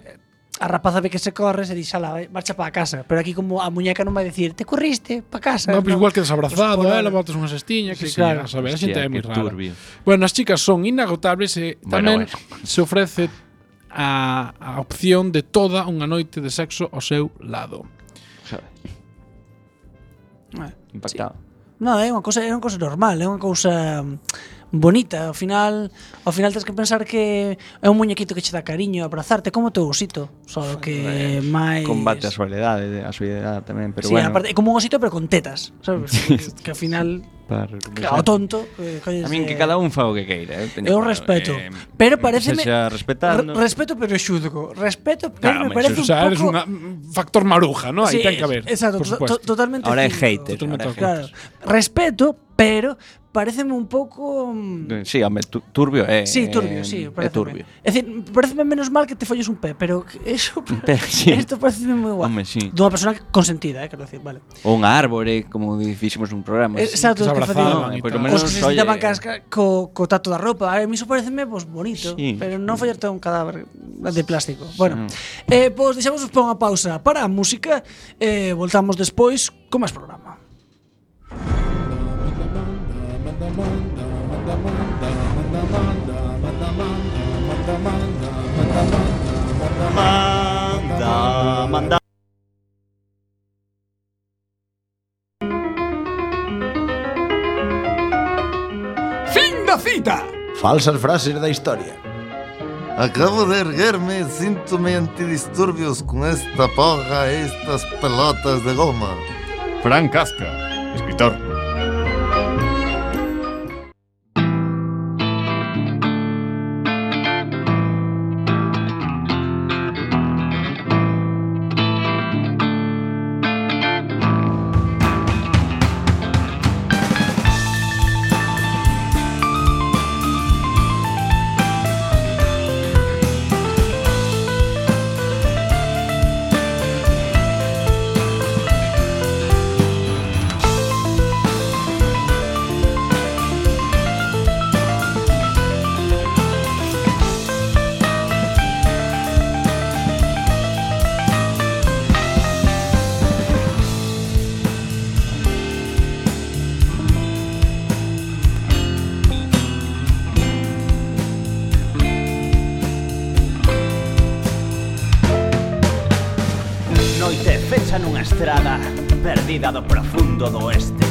[SPEAKER 1] A rapaza ve que se corre, se dixe, ala, vai, marcha para casa. Pero aquí como a muñeca non vai decir, te corriste, para casa.
[SPEAKER 8] No, pero igual que desabrazado,
[SPEAKER 1] Pues por hora.
[SPEAKER 8] eh, levantas unha cestiña, que
[SPEAKER 1] Sí,
[SPEAKER 8] sí, claro.
[SPEAKER 1] claro.
[SPEAKER 8] a saber, a
[SPEAKER 9] Hostia,
[SPEAKER 8] xente é moi
[SPEAKER 9] que
[SPEAKER 8] rara.
[SPEAKER 9] turbio.
[SPEAKER 8] Bueno, as chicas son inagotables e tamén
[SPEAKER 9] Bueno,
[SPEAKER 8] se ofrece a, a opción de toda unha noite de sexo ao seu lado.
[SPEAKER 9] Impactado.
[SPEAKER 1] No, eh, é unha cousa, é unha cousa normal, é unha cousa mm, bonita. Ao final, ao final tens que pensar que é un muñequito que che dá cariño, abrazarte, como teu osito. Só que máis...
[SPEAKER 9] Combate a soledade, a soledade tamén, eh, pero
[SPEAKER 1] sí,
[SPEAKER 9] bueno.
[SPEAKER 1] aparte, é como un osito pero con tetas, sabes? que, que ao final,
[SPEAKER 9] para
[SPEAKER 1] ao tonto, eh,
[SPEAKER 9] A min que cada un fa o que queira. Eu, teño
[SPEAKER 1] Eu
[SPEAKER 9] claro,
[SPEAKER 1] respeto,
[SPEAKER 9] eh,
[SPEAKER 1] pero pareceme
[SPEAKER 9] se xa respetando.
[SPEAKER 1] Re- respeto pero xudgo. Respeto, pero
[SPEAKER 9] Claro,
[SPEAKER 1] me
[SPEAKER 9] me
[SPEAKER 1] parece un
[SPEAKER 8] O sea,
[SPEAKER 1] pouco
[SPEAKER 8] eres unha mm, factor maruja, ¿no? Aí
[SPEAKER 1] Sí,
[SPEAKER 8] ten que haber.
[SPEAKER 1] Exacto,
[SPEAKER 8] por
[SPEAKER 1] to-
[SPEAKER 8] supuesto.
[SPEAKER 1] to- totalmente.
[SPEAKER 9] Ahora é
[SPEAKER 1] cínico.
[SPEAKER 9] hater.
[SPEAKER 8] Totalmente
[SPEAKER 9] Ahora é
[SPEAKER 1] Claro.
[SPEAKER 9] hater.
[SPEAKER 1] Respeto, pero pareceme un pouco mm,
[SPEAKER 9] Sí, home, tu- turbio é.
[SPEAKER 1] Sí, turbio, sí,
[SPEAKER 9] É
[SPEAKER 1] pareceme.
[SPEAKER 9] turbio.
[SPEAKER 1] É dicir, pareceme menos mal que te folles un pé, pero que eso
[SPEAKER 9] Pero sí.
[SPEAKER 1] Esto pareceme moi guay.
[SPEAKER 9] Home, sí.
[SPEAKER 1] Dunha persona consentida, eh, quero decir, vale.
[SPEAKER 9] Ou un árbore, como dixemos nun programa.
[SPEAKER 1] Eh, Exacto, os
[SPEAKER 8] Pues que se
[SPEAKER 1] que
[SPEAKER 8] abrazaban
[SPEAKER 1] facían-
[SPEAKER 8] e
[SPEAKER 9] Por
[SPEAKER 8] tal.
[SPEAKER 9] lo menos, eh,
[SPEAKER 1] Os que se
[SPEAKER 9] oye,
[SPEAKER 1] sentaban casca co, co tato da roupa A mí iso pareceme pues, bonito
[SPEAKER 9] Sí.
[SPEAKER 1] Pero non follarte a un cadáver de plástico Bueno, eh, pois deixamos para unha pausa Para a música eh, Voltamos despois con máis programa
[SPEAKER 2] Fin da cita.
[SPEAKER 6] Falsas frases da historia.
[SPEAKER 10] Acabo de erguerme, síntome antidisturbios con esta porra, estas pelotas de goma.
[SPEAKER 2] Frank Casca, escritor.
[SPEAKER 11] marcha nunha estrada perdida do profundo do oeste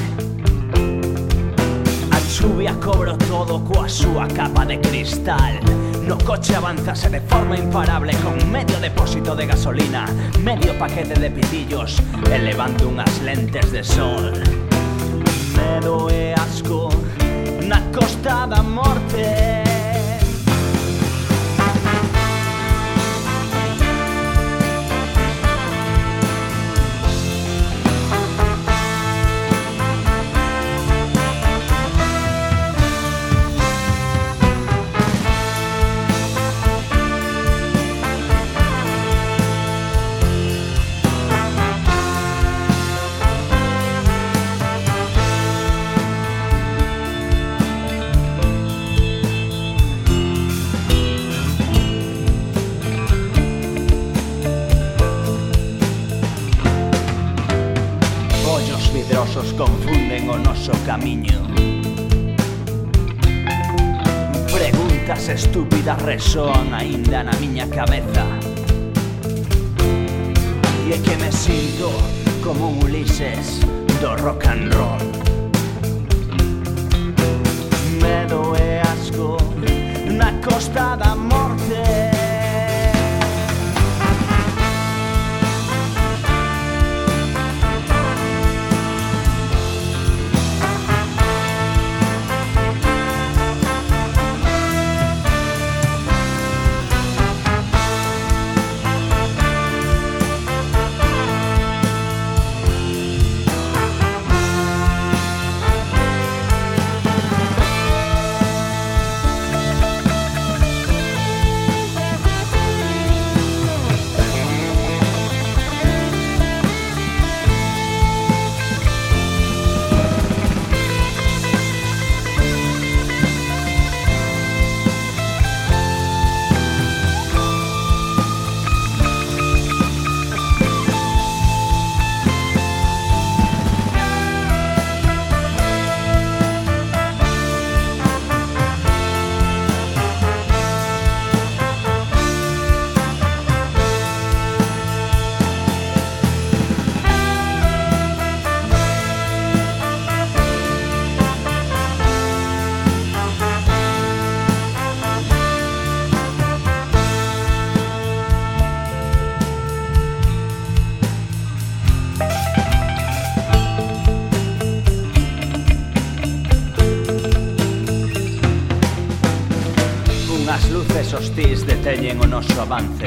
[SPEAKER 11] A chuvia cobro todo coa súa capa de cristal No coche avanzase de forma imparable con medio depósito de gasolina Medio paquete de pitillos elevando unhas lentes de sol Medo e asco na costa da morte Ollos vidrosos confunden o noso camiño Preguntas estúpidas resoan aínda na miña cabeza E é que me sinto como un Ulises do rock and roll Medo e asco na costa da morte Unhas luces hostís deteñen o noso avance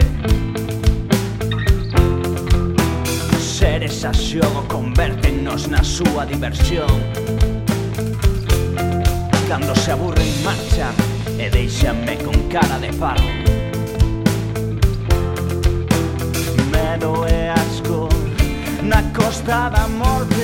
[SPEAKER 11] Seres a xogo convertennos na súa diversión Cando se aburren marchan e deixanme con cara de farro Medo e asco na costa da morte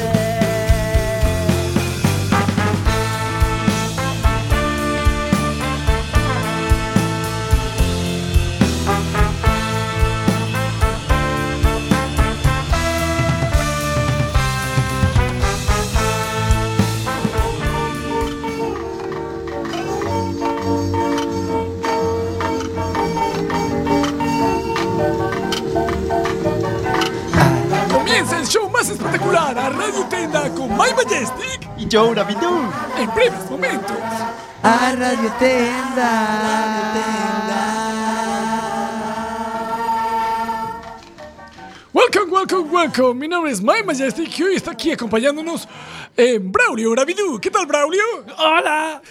[SPEAKER 8] Comienza el show más espectacular a Radio Tenda con My Majestic y Joe Rabidou en breves momentos.
[SPEAKER 1] A Radio Tenda.
[SPEAKER 8] Welcome, welcome, welcome. Mi nombre es My Majestic y hoy está aquí acompañándonos eh, Braulio Rabidú. ¿Qué tal, Braulio? ¡Hola!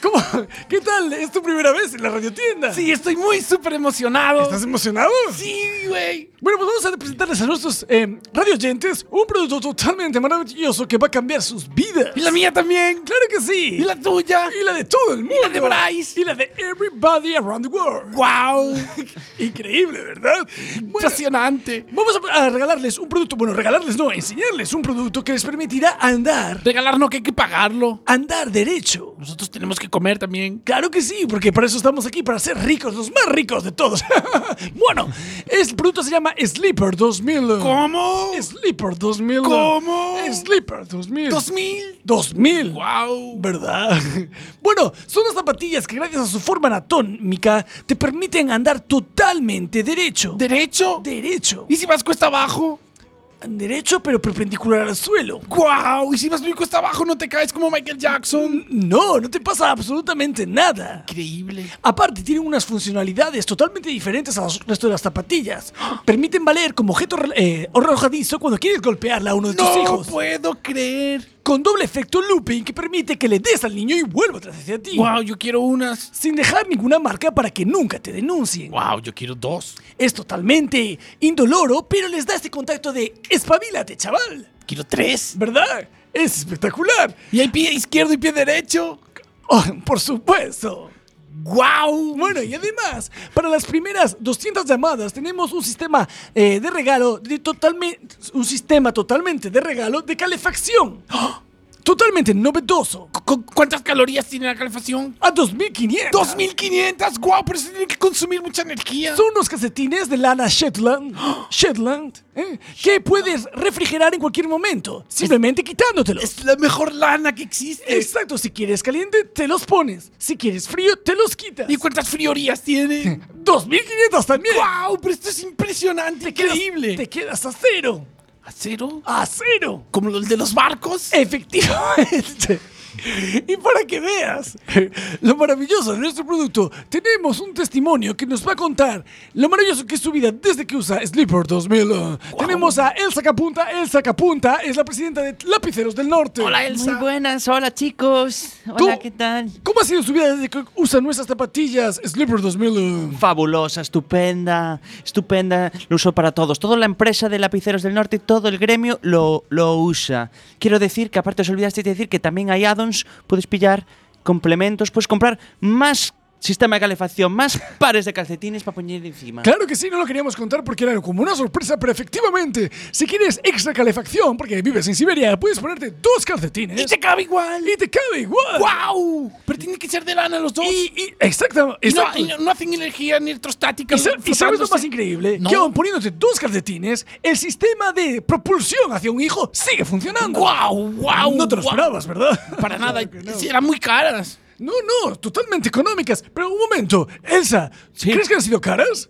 [SPEAKER 8] ¿Cómo? ¿Qué tal? ¿Es tu primera vez en la radiotienda? Sí, estoy muy súper emocionado. ¿Estás emocionado? Sí, güey. Bueno, pues vamos a presentarles a nuestros eh, radioyentes un producto totalmente maravilloso que va a cambiar sus vidas. Y la mía también. Claro que sí. Y la tuya. Y la de todo el mundo. Y la de Bryce. Y la de Everybody Around the World. ¡Wow! Increíble, ¿verdad? Impresionante. Vamos a, a regalarles un producto. Bueno, regalarles no, enseñarles un producto que les permitirá andar. Regalar no, que hay que pagarlo. Andar derecho. Nosotros tenemos que comer también. Claro que sí, porque para eso estamos aquí, para ser ricos, los más ricos de todos. bueno, este producto se llama Sleeper 2000. ¿Cómo? Sleeper 2000.
[SPEAKER 12] ¿Cómo?
[SPEAKER 8] Sleeper 2000. 2000. 2000. Wow. ¿Verdad? bueno, son las zapatillas que gracias a su forma anatómica te permiten andar totalmente derecho. ¿Derecho? Derecho. ¿Y si vas cuesta abajo?
[SPEAKER 1] derecho pero perpendicular al suelo.
[SPEAKER 8] ¡Guau! Y si vas muy cuesta abajo no te caes como Michael Jackson.
[SPEAKER 1] No, no te pasa absolutamente nada.
[SPEAKER 8] Increíble.
[SPEAKER 1] Aparte, tienen unas funcionalidades totalmente diferentes al resto de las zapatillas. Permiten valer como objeto eh, arrojadizo cuando quieres golpearla a uno de tus
[SPEAKER 8] No
[SPEAKER 1] hijos.
[SPEAKER 8] puedo creer.
[SPEAKER 1] Con doble efecto looping que permite que le des al niño y vuelva atrás hacia ti.
[SPEAKER 8] ¡Guau! Yo quiero unas.
[SPEAKER 1] Sin dejar ninguna marca para que nunca te denuncien.
[SPEAKER 8] ¡Guau! Yo quiero dos.
[SPEAKER 1] Es totalmente indoloro, pero les da ese contacto de espabilate, chaval.
[SPEAKER 8] Quiero tres.
[SPEAKER 1] ¿Verdad? Es espectacular.
[SPEAKER 8] Y hay pie izquierdo y pie derecho.
[SPEAKER 1] Oh, por supuesto.
[SPEAKER 8] ¡Guau!
[SPEAKER 1] Bueno, y además, para las primeras 200 llamadas tenemos un sistema eh, de regalo, de totalmente, un sistema totalmente de regalo de calefacción. ¡Ah! Totalmente novedoso.
[SPEAKER 8] ¿Cu- cu- ¿Cuántas calorías tiene la calefacción?
[SPEAKER 1] A 2500.
[SPEAKER 8] 2500. ¡Guau! Pero se tiene que consumir mucha energía.
[SPEAKER 1] Son unos calcetines de lana Shetland, Shetland, ¿eh? que puedes refrigerar en cualquier momento, simplemente quitándotelos.
[SPEAKER 8] Es la mejor lana que existe.
[SPEAKER 1] Exacto, si quieres caliente, te los pones. Si quieres frío, te los quitas.
[SPEAKER 8] ¿Y cuántas friorías tiene?
[SPEAKER 1] 2500 también.
[SPEAKER 8] ¡Guau! Pero esto es impresionante, increíble.
[SPEAKER 1] Te quedas a cero.
[SPEAKER 8] ¿A cero? Ah,
[SPEAKER 1] A cero.
[SPEAKER 8] ¿Como los de los barcos?
[SPEAKER 1] Efectivamente. Y para que veas lo maravilloso de nuestro producto, tenemos un testimonio que nos va a contar lo maravilloso que es su vida desde que usa Sleeper 2000. Tenemos a Elsa Capunta. Elsa Capunta es la presidenta de Lapiceros del Norte.
[SPEAKER 8] Hola, Elsa.
[SPEAKER 13] buenas, hola chicos.
[SPEAKER 1] Hola, ¿qué
[SPEAKER 13] tal?
[SPEAKER 1] ¿Cómo ha sido su vida desde que usa nuestras zapatillas Sleeper 2000?
[SPEAKER 9] Fabulosa, estupenda, estupenda. Lo uso para todos. Toda la empresa de lapiceros del norte, todo el gremio lo, lo usa. Quiero decir que, aparte, os olvidaste de decir que también hay add-ons, puedes pillar complementos, puedes comprar más sistema de calefacción, más pares de calcetines para poner encima.
[SPEAKER 1] Claro que sí, no lo queríamos contar porque era como una sorpresa, pero efectivamente, si quieres extra calefacción, porque vives en Siberia, puedes ponerte dos calcetines.
[SPEAKER 8] Y te cabe igual.
[SPEAKER 1] Y te cabe igual.
[SPEAKER 8] ¡Guau! Pero tiene que ser de lana los dos.
[SPEAKER 1] Y, y- exacto,
[SPEAKER 8] Y no,
[SPEAKER 1] exacto.
[SPEAKER 8] y no- no hacen energía ni electrostática.
[SPEAKER 1] Y sa- y sabes lo más increíble,
[SPEAKER 8] No.
[SPEAKER 1] que aun poniéndote dos calcetines, el sistema de propulsión hacia un hijo sigue funcionando.
[SPEAKER 8] ¡Guau! ¡Guau!
[SPEAKER 1] No te lo
[SPEAKER 8] guau.
[SPEAKER 1] esperabas, ¿verdad?
[SPEAKER 8] Para nada.
[SPEAKER 1] Claro que no.
[SPEAKER 8] Sí, Eran muy caras.
[SPEAKER 1] No, no, totalmente económicas. Pero un momento, Elsa, ¿crees que han sido caras?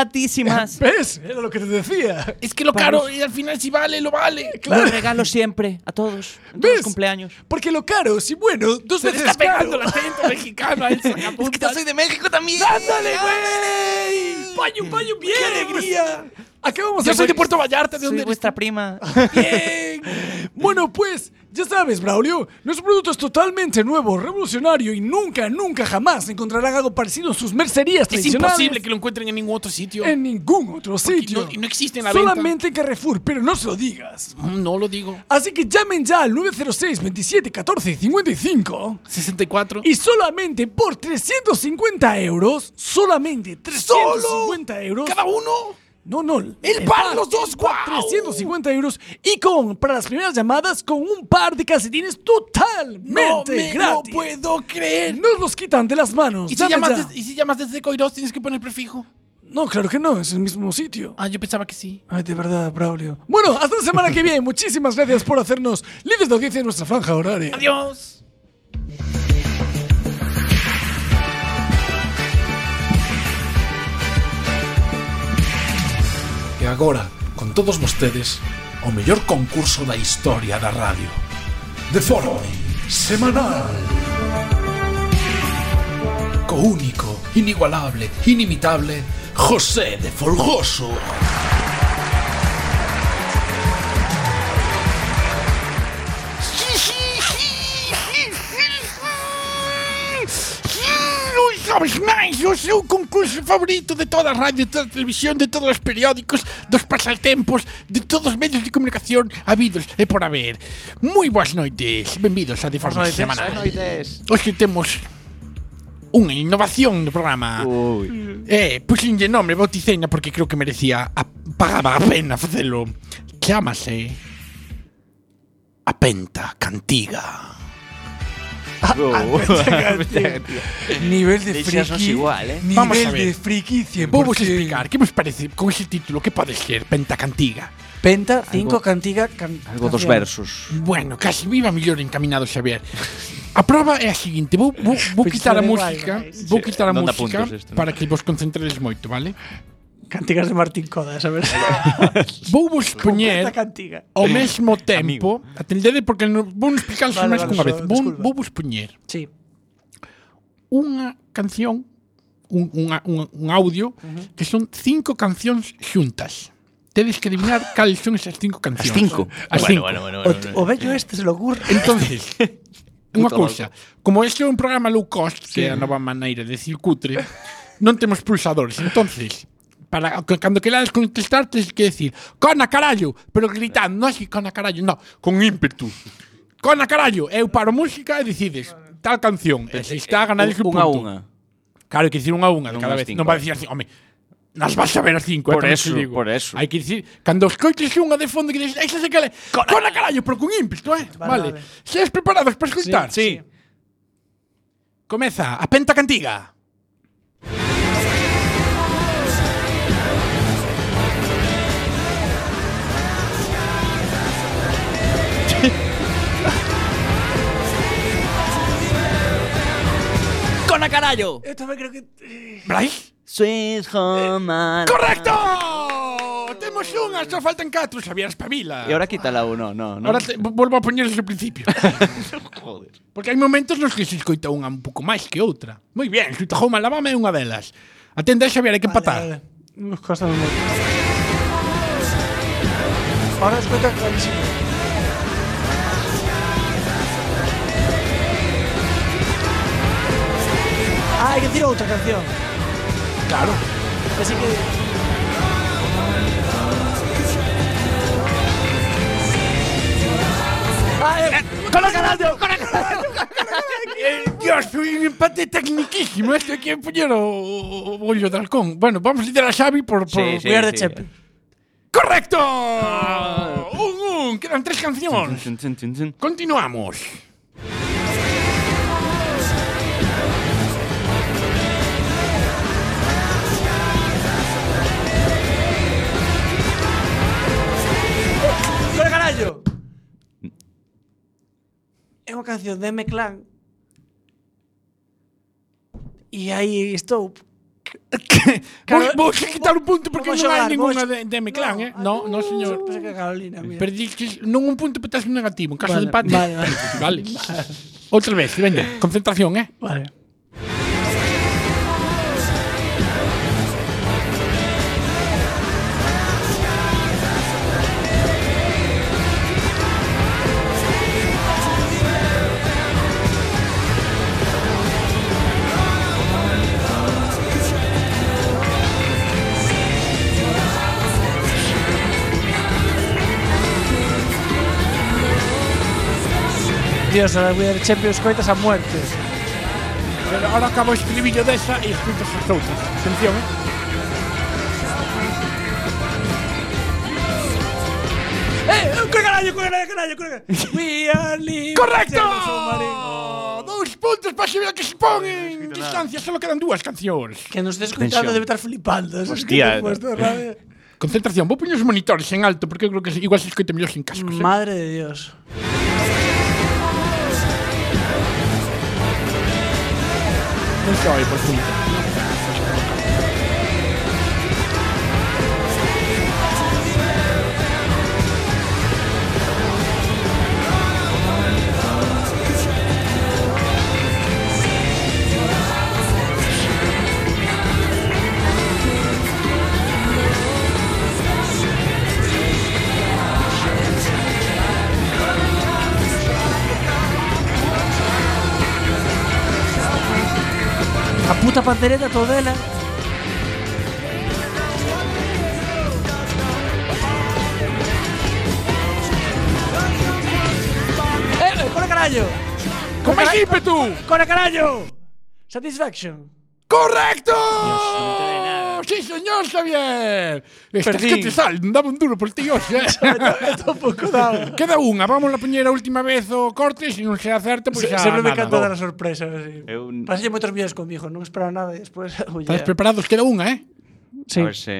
[SPEAKER 9] Baratísimas.
[SPEAKER 1] ¿Ves? Era lo que te decía.
[SPEAKER 8] Es que lo
[SPEAKER 9] Para
[SPEAKER 8] caro,
[SPEAKER 9] los-
[SPEAKER 8] y al final si vale, lo vale.
[SPEAKER 9] Lo regalo siempre a todos. En todos
[SPEAKER 1] ¿Ves?
[SPEAKER 9] los cumpleaños.
[SPEAKER 1] Porque lo caro, si bueno, dos
[SPEAKER 8] Se le
[SPEAKER 1] veces
[SPEAKER 8] está pegando
[SPEAKER 1] caro.
[SPEAKER 8] el acento mexicano a Elsa Capunta.
[SPEAKER 13] Es que yo soy de México también.
[SPEAKER 8] ¡Ándale, güey!
[SPEAKER 1] ¡Payo, payo, bien!
[SPEAKER 8] ¡Qué alegría!
[SPEAKER 1] Acabamos
[SPEAKER 8] Yo
[SPEAKER 1] de
[SPEAKER 8] soy de Puerto Vallarta, ¿de
[SPEAKER 9] Soy
[SPEAKER 8] dónde eres?
[SPEAKER 9] vuestra prima.
[SPEAKER 1] Bien. Bueno, pues, ya sabes, Braulio, nuestro producto es totalmente nuevo, revolucionario y nunca, nunca jamás encontrarán algo parecido en sus mercerías
[SPEAKER 8] Es
[SPEAKER 1] tradicionales.
[SPEAKER 8] imposible que lo encuentren en ningún otro sitio.
[SPEAKER 1] en ningún otro sitio.
[SPEAKER 8] no- y no existe en la Mm,
[SPEAKER 1] Solamente en Carrefour, pero no se lo digas.
[SPEAKER 8] No lo digo.
[SPEAKER 1] Así que llamen ya al 906 27 14 55
[SPEAKER 8] 64.
[SPEAKER 1] y solamente por 350 euros, solamente 350 euros.
[SPEAKER 8] cada uno.
[SPEAKER 1] No, no.
[SPEAKER 8] ¡El par, los dos!
[SPEAKER 1] el par,
[SPEAKER 8] ¡Guau!
[SPEAKER 1] 350 euros y con, para las primeras llamadas, con un par de calcetines totalmente
[SPEAKER 8] me lo
[SPEAKER 1] gratis.
[SPEAKER 8] puedo creer.
[SPEAKER 1] Nos los quitan de las manos.
[SPEAKER 8] ¿Y, si
[SPEAKER 1] Llame
[SPEAKER 8] llamas
[SPEAKER 1] ya.
[SPEAKER 8] des- y si llamas desde Coirós tienes que poner prefijo.
[SPEAKER 1] No, claro que no, es el mismo sitio.
[SPEAKER 8] Ah, yo pensaba que sí.
[SPEAKER 1] Ay, de verdad, Braulio. Bueno, hasta la semana que viene. Muchísimas gracias por hacernos líderes de audiencia en nuestra franja horaria.
[SPEAKER 8] Adiós. E agora, con todos vostedes, o mellor concurso da historia da radio. De forma semanal. Co único, inigualable, inimitable, José de Folgoso. Non sabes máis o seu concurso favorito de toda a radio, de toda a televisión, de todos os periódicos, dos pasatempos, de todos os medios de comunicación habidos e por haber. Moi boas noites, benvidos a De Forma Semanal. Hoxe temos unha innovación no programa. Eh, puxenlle nome, bauticena, porque creo que merecía, a, pagaba a pena facelo. Chámase a Penta Cantiga.
[SPEAKER 1] Ah, Nivel de
[SPEAKER 9] Deixasnos
[SPEAKER 1] friki.
[SPEAKER 9] igual, eh.
[SPEAKER 1] Nivel
[SPEAKER 8] Vamos a ver.
[SPEAKER 1] de friki 100%.
[SPEAKER 8] Vou vos explicar, que vos parece con ese título? Que pode ser Penta Cantiga?
[SPEAKER 1] Penta, 5,
[SPEAKER 9] Algo-
[SPEAKER 1] cantiga, can-
[SPEAKER 9] Algo dos
[SPEAKER 1] canción.
[SPEAKER 9] versos.
[SPEAKER 8] Bueno, casi viva mellor encaminado, Xavier. A proba é a seguinte, vou, vou, vou quitar
[SPEAKER 1] Pensade
[SPEAKER 8] a
[SPEAKER 1] igual,
[SPEAKER 8] música,
[SPEAKER 1] vais.
[SPEAKER 8] vou quitar a
[SPEAKER 9] Non dá
[SPEAKER 8] música
[SPEAKER 9] puntos isto, non?
[SPEAKER 8] para que vos concentredes moito, vale?
[SPEAKER 1] Cantigas de Martín Coda, sabes?
[SPEAKER 8] Vou vos poñer
[SPEAKER 1] Completa cantiga.
[SPEAKER 8] ao mesmo tempo, atendede porque non vou explicar
[SPEAKER 1] Vale,
[SPEAKER 8] máis
[SPEAKER 1] vale,
[SPEAKER 8] que unha vez.
[SPEAKER 1] só-
[SPEAKER 8] Vou,
[SPEAKER 1] desculpa.
[SPEAKER 8] vou vos poñer
[SPEAKER 1] sí.
[SPEAKER 8] unha canción, un, unha, un, un audio,
[SPEAKER 1] Ujú.
[SPEAKER 8] que son cinco cancións xuntas. Tedes que adivinar cales son esas cinco cancións.
[SPEAKER 1] cinco?
[SPEAKER 8] As
[SPEAKER 1] Bueno,
[SPEAKER 8] cinco.
[SPEAKER 1] bueno, bueno, bueno, O- bueno. o vello este se le ocurre.
[SPEAKER 8] Entonces, unha
[SPEAKER 1] Puto
[SPEAKER 8] cousa. Como este é un programa low cost,
[SPEAKER 1] Sí.
[SPEAKER 8] que é a nova maneira de decir cutre, non temos pulsadores. Entonces, para que- cando querades contestar, tens que decir cona carallo, pero gritando, non así cona carallo, no, con ímpetu. Cona carallo, eu paro música e decides tal canción. E se está
[SPEAKER 1] Eh,
[SPEAKER 8] ganades un,
[SPEAKER 9] Unha a
[SPEAKER 8] punto.
[SPEAKER 9] unha.
[SPEAKER 8] Claro, hai que dicir unha a unha de
[SPEAKER 9] Non
[SPEAKER 8] cada
[SPEAKER 9] as
[SPEAKER 8] vez.
[SPEAKER 9] cinco.
[SPEAKER 8] Non vai dicir así, home, nas vas a ver as cinco.
[SPEAKER 9] Por
[SPEAKER 8] eh, tamén
[SPEAKER 9] eso,
[SPEAKER 8] te digo.
[SPEAKER 9] por eso.
[SPEAKER 8] Hai que dicir, cando escoites unha de fondo que dices, esa se cale, cona carallo, pero con ímpetu, eh? Vale. vale. Sedes preparados para escoitar? Sí. Comeza a penta cantiga.
[SPEAKER 7] ¡Cona carallo!
[SPEAKER 1] Yo también creo que. eh.
[SPEAKER 8] ¿Bryce?
[SPEAKER 7] Sweet Home
[SPEAKER 8] ¡Correcto! Temos unha, só faltan catro, Xavier Espabila.
[SPEAKER 9] E ahora quítala uno, no, no.
[SPEAKER 8] Ahora te, volvo a poñer desde o principio.
[SPEAKER 9] Joder.
[SPEAKER 8] Porque hai momentos nos que se escoita unha un pouco máis que outra. Moi bien, Sweet Home Alabama é unha delas. Atende, Xavier, hai que empatar.
[SPEAKER 1] Nos cosas moito. Ahora os cuento clarísimo. Ah, hay que decir outra canción.
[SPEAKER 8] Claro.
[SPEAKER 1] Así que.
[SPEAKER 8] ¡Con la carallo! ¡Con la carallo! Dios, foi un empate tecniquísimo. Este que poñer o, o, o bollo de halcón. Bueno, vamos liderar a Xavi por... por
[SPEAKER 9] Sí, sí, Cuidar de sí. Chepe.
[SPEAKER 8] ¡Correcto! un, un. Quedan tres cancións.
[SPEAKER 9] Tun, tun, tun, tun.
[SPEAKER 8] Continuamos.
[SPEAKER 1] Pero carallo! É unha canción de M-Clan E aí estou
[SPEAKER 8] Vou- vou xe quitar un punto porque
[SPEAKER 1] vou
[SPEAKER 8] non hai
[SPEAKER 1] xogar,
[SPEAKER 8] ninguna
[SPEAKER 1] vou
[SPEAKER 8] de, de Meclán, eh? No, no, señor.
[SPEAKER 1] Pensei uh, que Carolina, mira.
[SPEAKER 8] Perdiste non un punto, pero estás un negativo. En caso
[SPEAKER 1] Vale,
[SPEAKER 8] de empate.
[SPEAKER 1] vale, vale.
[SPEAKER 8] vale. Outra vez, venga, concentración, eh?
[SPEAKER 1] Vale. Dios, ahora voy a dar Champions coitas a muerte.
[SPEAKER 8] Pero ahora acabo de escribir yo de esa y escucho esas outras. Atención, eh?
[SPEAKER 1] ¡Eh! ¡Corre carallo, corre carallo, corre carallo! ¡We are living!
[SPEAKER 8] ¡Correcto! Dous puntos para Xavier que se pon en distancia. Solo quedan dúas cancións.
[SPEAKER 1] Que nos estés escuchando
[SPEAKER 8] Tensión.
[SPEAKER 1] debe estar flipando. Eso es que
[SPEAKER 8] Hostia,
[SPEAKER 1] te he puesto
[SPEAKER 8] no.
[SPEAKER 1] rabia.
[SPEAKER 8] Concentración, vou poñer os monitores en alto porque eu creo que igual se escoite mellor sin cascos. eh?
[SPEAKER 1] Madre de Dios.
[SPEAKER 8] Non se oi, por fin.
[SPEAKER 1] A puta pandereta todela. ¡Eh! ¡Corre carallo!
[SPEAKER 8] ¡Con más ímpetu!
[SPEAKER 1] ¡Corre carallo! Satisfaction.
[SPEAKER 8] ¡Correcto! ¡Sí, señor Xavier! Estás
[SPEAKER 1] Perdín.
[SPEAKER 8] que te sal, non daba un duro por ti hoxe, eh?
[SPEAKER 1] Tampouco daba.
[SPEAKER 8] Queda unha, vamos a poñer a última vez o corte, se non se acerta, pois
[SPEAKER 1] Se-
[SPEAKER 8] xa
[SPEAKER 1] Sempre me
[SPEAKER 8] nada.
[SPEAKER 1] encanta dar a sorpresa. así.
[SPEAKER 9] Eu-
[SPEAKER 1] Pasalle moitos millóns con mi hijo, non esperaba nada e despois... oye,
[SPEAKER 8] Estás preparados? Queda unha, eh?
[SPEAKER 1] Sí.
[SPEAKER 9] A ver se...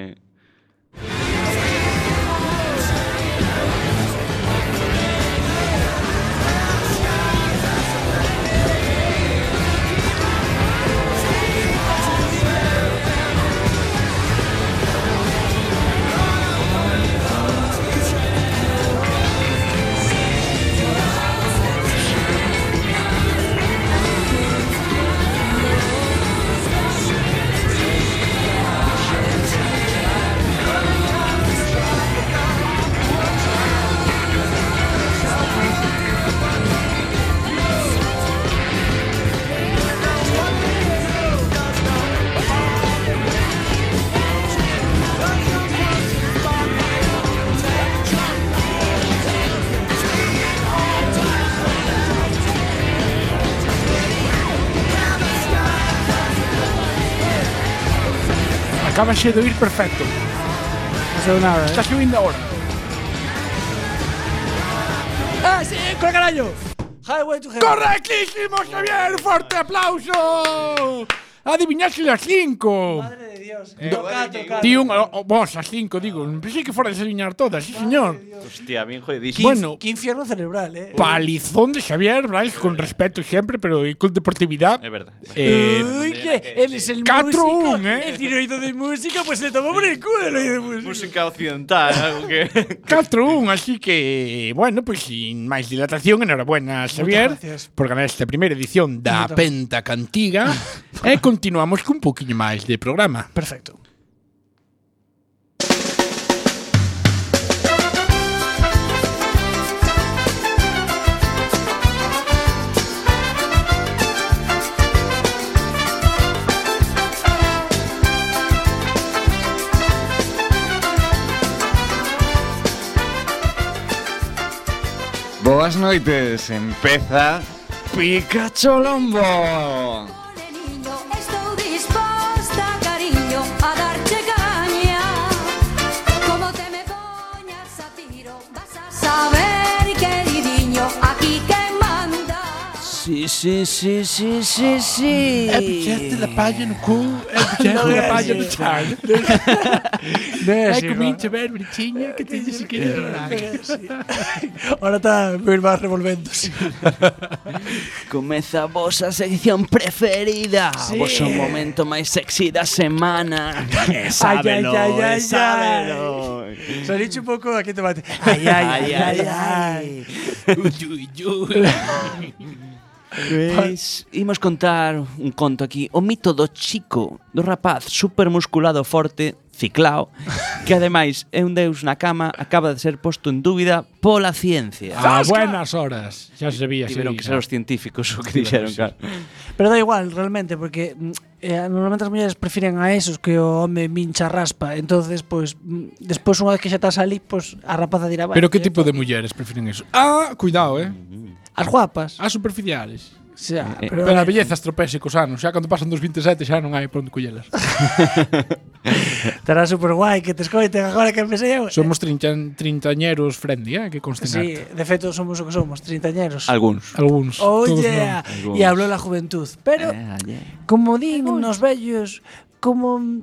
[SPEAKER 8] Acabaxe de oír perfecto.
[SPEAKER 1] Hace unha hora. ¿eh?
[SPEAKER 8] Está subindo agora.
[SPEAKER 1] Ah, sí, con carallo. Highway to Hell.
[SPEAKER 8] Correctísimo, Xavier. Forte aplauso. Adivinaste las cinco. Madre
[SPEAKER 1] de Dios. Toca, toca.
[SPEAKER 8] Di un, o- o vos, las cinco, digo. Pensé que fuera a adivinar todas, sí, señor.
[SPEAKER 9] Hostia, bien jodidísimo.
[SPEAKER 8] Bueno,
[SPEAKER 1] Qué infierno cerebral, eh.
[SPEAKER 8] palizón de Xavier, Brais, con respeto siempre, pero y con deportividad.
[SPEAKER 9] Es verdad.
[SPEAKER 8] Eh,
[SPEAKER 1] Uy, que él es el
[SPEAKER 8] Catro
[SPEAKER 1] músico,
[SPEAKER 8] un, eh.
[SPEAKER 1] el tiroido de música, pues le tomó por el culo el oído de música.
[SPEAKER 9] Música occidental, algo que.
[SPEAKER 8] 4-1, Eh, así que, bueno, pues sin máis dilatación, enhorabuena, Xavier,
[SPEAKER 9] gracias.
[SPEAKER 8] por ganar esta primeira edición da
[SPEAKER 1] Moitas-
[SPEAKER 8] Penta Cantiga. e continuamos cun poquinho máis de programa.
[SPEAKER 1] Perfecto.
[SPEAKER 3] Boas noites, empeza Pikachu Lombo.
[SPEAKER 14] Estou disposta, cariño, a darte caña. Como te me poñas a tiro, vas a saber, queridinho, aquí que manda.
[SPEAKER 7] Sí, sí, sí, sí, sí, sí.
[SPEAKER 8] É puxaste da palla no cu, é puxaste
[SPEAKER 7] Non
[SPEAKER 8] da
[SPEAKER 7] é
[SPEAKER 8] palla no
[SPEAKER 7] así.
[SPEAKER 8] chan. Vai
[SPEAKER 1] así,
[SPEAKER 8] comigo a ver, brichiña, que teñes que
[SPEAKER 1] Eh,
[SPEAKER 8] ir
[SPEAKER 1] Ahora está mi irmán revolvéndose.
[SPEAKER 7] Comeza a vosa sección preferida
[SPEAKER 1] Sí.
[SPEAKER 7] sí. Vos o momento máis sexy da semana E Sábelo,
[SPEAKER 1] Sábelo, ay, ay, ay,
[SPEAKER 7] e
[SPEAKER 1] ay.
[SPEAKER 7] sábelo
[SPEAKER 1] Se ha dicho un poco a qué te bate. Ay, ay, ay, ay, ay.
[SPEAKER 7] Pois, imos contar un conto aquí O mito do chico, do rapaz supermusculado forte Ciclao, que ademais é un deus na cama Acaba de ser posto en dúbida pola ciencia
[SPEAKER 8] A Ah, buenas horas, xa sabía.
[SPEAKER 7] Tiveron que ser os científicos o que
[SPEAKER 8] Tiveron
[SPEAKER 7] dixeron, claro
[SPEAKER 1] Pero da igual, realmente, porque mm, eh, normalmente as mulleres prefiren a esos que o home mincha raspa. Entonces, pues, mm, despois unha vez que xa estás ali, pues, a rapaza dirá, vale,
[SPEAKER 8] Pero que tipo de mulleres prefiren eso? Ah, cuidado, eh.
[SPEAKER 1] As guapas.
[SPEAKER 8] As superficiales.
[SPEAKER 1] Xa,
[SPEAKER 8] Eh,
[SPEAKER 1] pero-
[SPEAKER 8] pero a belleza estropese cos anos, xa cando pasan dos 27 xa non hai por onde collelas.
[SPEAKER 1] Estará super guai que te escoiten agora que empecé eu.
[SPEAKER 8] Somos trinchan, trintañeros friendly, eh, que conste
[SPEAKER 1] Sí,
[SPEAKER 8] sí.
[SPEAKER 1] de feito somos o que somos, trintañeros.
[SPEAKER 9] Alguns.
[SPEAKER 8] Alguns.
[SPEAKER 1] Oh
[SPEAKER 8] todos
[SPEAKER 1] yeah,
[SPEAKER 8] non.
[SPEAKER 1] e hablou la juventud. Pero,
[SPEAKER 9] Eh,
[SPEAKER 1] como din nos vellos, como...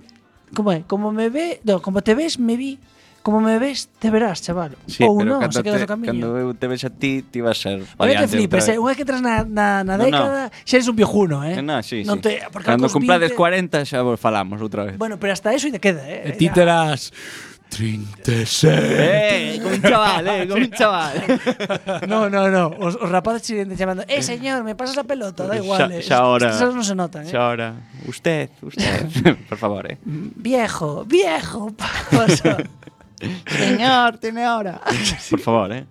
[SPEAKER 1] Como é? Como me ve... No, como te ves, me vi. Como me ves, te verás, chaval.
[SPEAKER 9] Sí,
[SPEAKER 1] Ou
[SPEAKER 9] pero
[SPEAKER 1] non, se
[SPEAKER 9] cando,
[SPEAKER 1] quedas
[SPEAKER 9] te,
[SPEAKER 1] no camiño.
[SPEAKER 9] cando eu te ves a ti, ti vas a
[SPEAKER 1] Non é
[SPEAKER 9] ser
[SPEAKER 1] que
[SPEAKER 9] variante
[SPEAKER 1] flipes,
[SPEAKER 9] outra
[SPEAKER 1] eh? unha vez que entras na, na, na
[SPEAKER 9] No,
[SPEAKER 1] década, xa eres un viejuno, eh?
[SPEAKER 9] vez. No, sí,
[SPEAKER 1] Non
[SPEAKER 9] sí.
[SPEAKER 1] te, porque
[SPEAKER 9] Cando
[SPEAKER 1] aos
[SPEAKER 9] cumplades
[SPEAKER 1] 20
[SPEAKER 9] 40 xa vos falamos outra vez.
[SPEAKER 1] Bueno, pero hasta eso ainda queda, eh?
[SPEAKER 8] E ti terás 36.
[SPEAKER 7] Eh, como un chaval, eh, como un chaval.
[SPEAKER 1] No, no, no. Os, os rapaces siguen chamando, eh, señor, me pasas la pelota, da igual. eh.
[SPEAKER 9] xa, xa ahora.
[SPEAKER 1] Estas non se notan, eh?
[SPEAKER 9] Xa ahora. Usted, usted. Por favor, eh.
[SPEAKER 1] Viejo, viejo, pasa.
[SPEAKER 7] Señor, tiene ahora.
[SPEAKER 9] Por favor, eh.